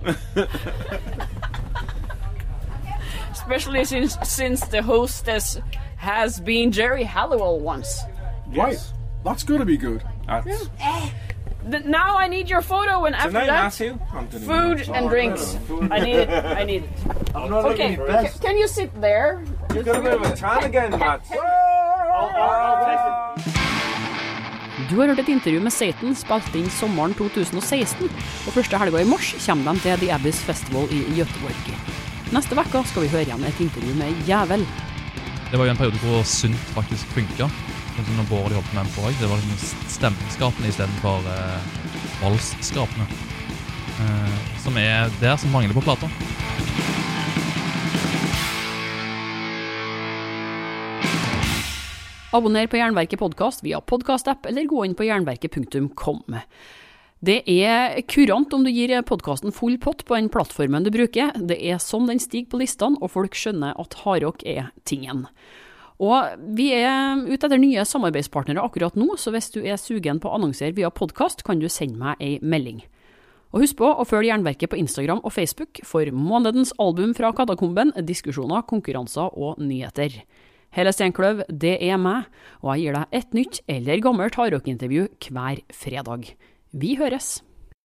[SPEAKER 1] Especially since since the hostess has been Jerry Halliwell once.
[SPEAKER 2] Right, that's got to be good.
[SPEAKER 5] That's
[SPEAKER 1] Th- now I need your photo, and after
[SPEAKER 5] Tonight,
[SPEAKER 1] that,
[SPEAKER 5] Matthew. I'm doing
[SPEAKER 1] food and drinks. I need it. I need it.
[SPEAKER 9] I'm not looking
[SPEAKER 1] Okay,
[SPEAKER 9] for
[SPEAKER 1] ca- can you sit there?
[SPEAKER 5] You've got a bit of a tan again,
[SPEAKER 1] [laughs]
[SPEAKER 5] Matt.
[SPEAKER 8] Du har hørt et intervju med Satan spilt inn sommeren 2016, og første helga i mars kommer de til The Abbey's Festival i Göteborg. Neste uke skal vi høre igjen et intervju med Jævel.
[SPEAKER 11] Det var jo en periode hvor sunt faktisk funka. Sånn som når Bård de holdt på med MPO. Det var liksom stemningsskapende istedenfor eh, voldsskapende. eh, som er der som mangler på plata.
[SPEAKER 1] Abonner på Jernverket podkast via podkastapp, eller gå inn på jernverket.com. Det er kurant om du gir podkasten full pott på den plattformen du bruker. Det er sånn den stiger på listene, og folk skjønner at hardrock er tingen. Og vi er ute etter nye samarbeidspartnere akkurat nå, så hvis du er sugen på å annonsere via podkast, kan du sende meg ei melding. Og husk på å følge Jernverket på Instagram og Facebook for månedens album fra Katakomben, diskusjoner, konkurranser og nyheter. Helle Steinkløv, det er meg, og jeg gir deg et nytt eller gammelt hardrockintervju hver fredag. Vi høres!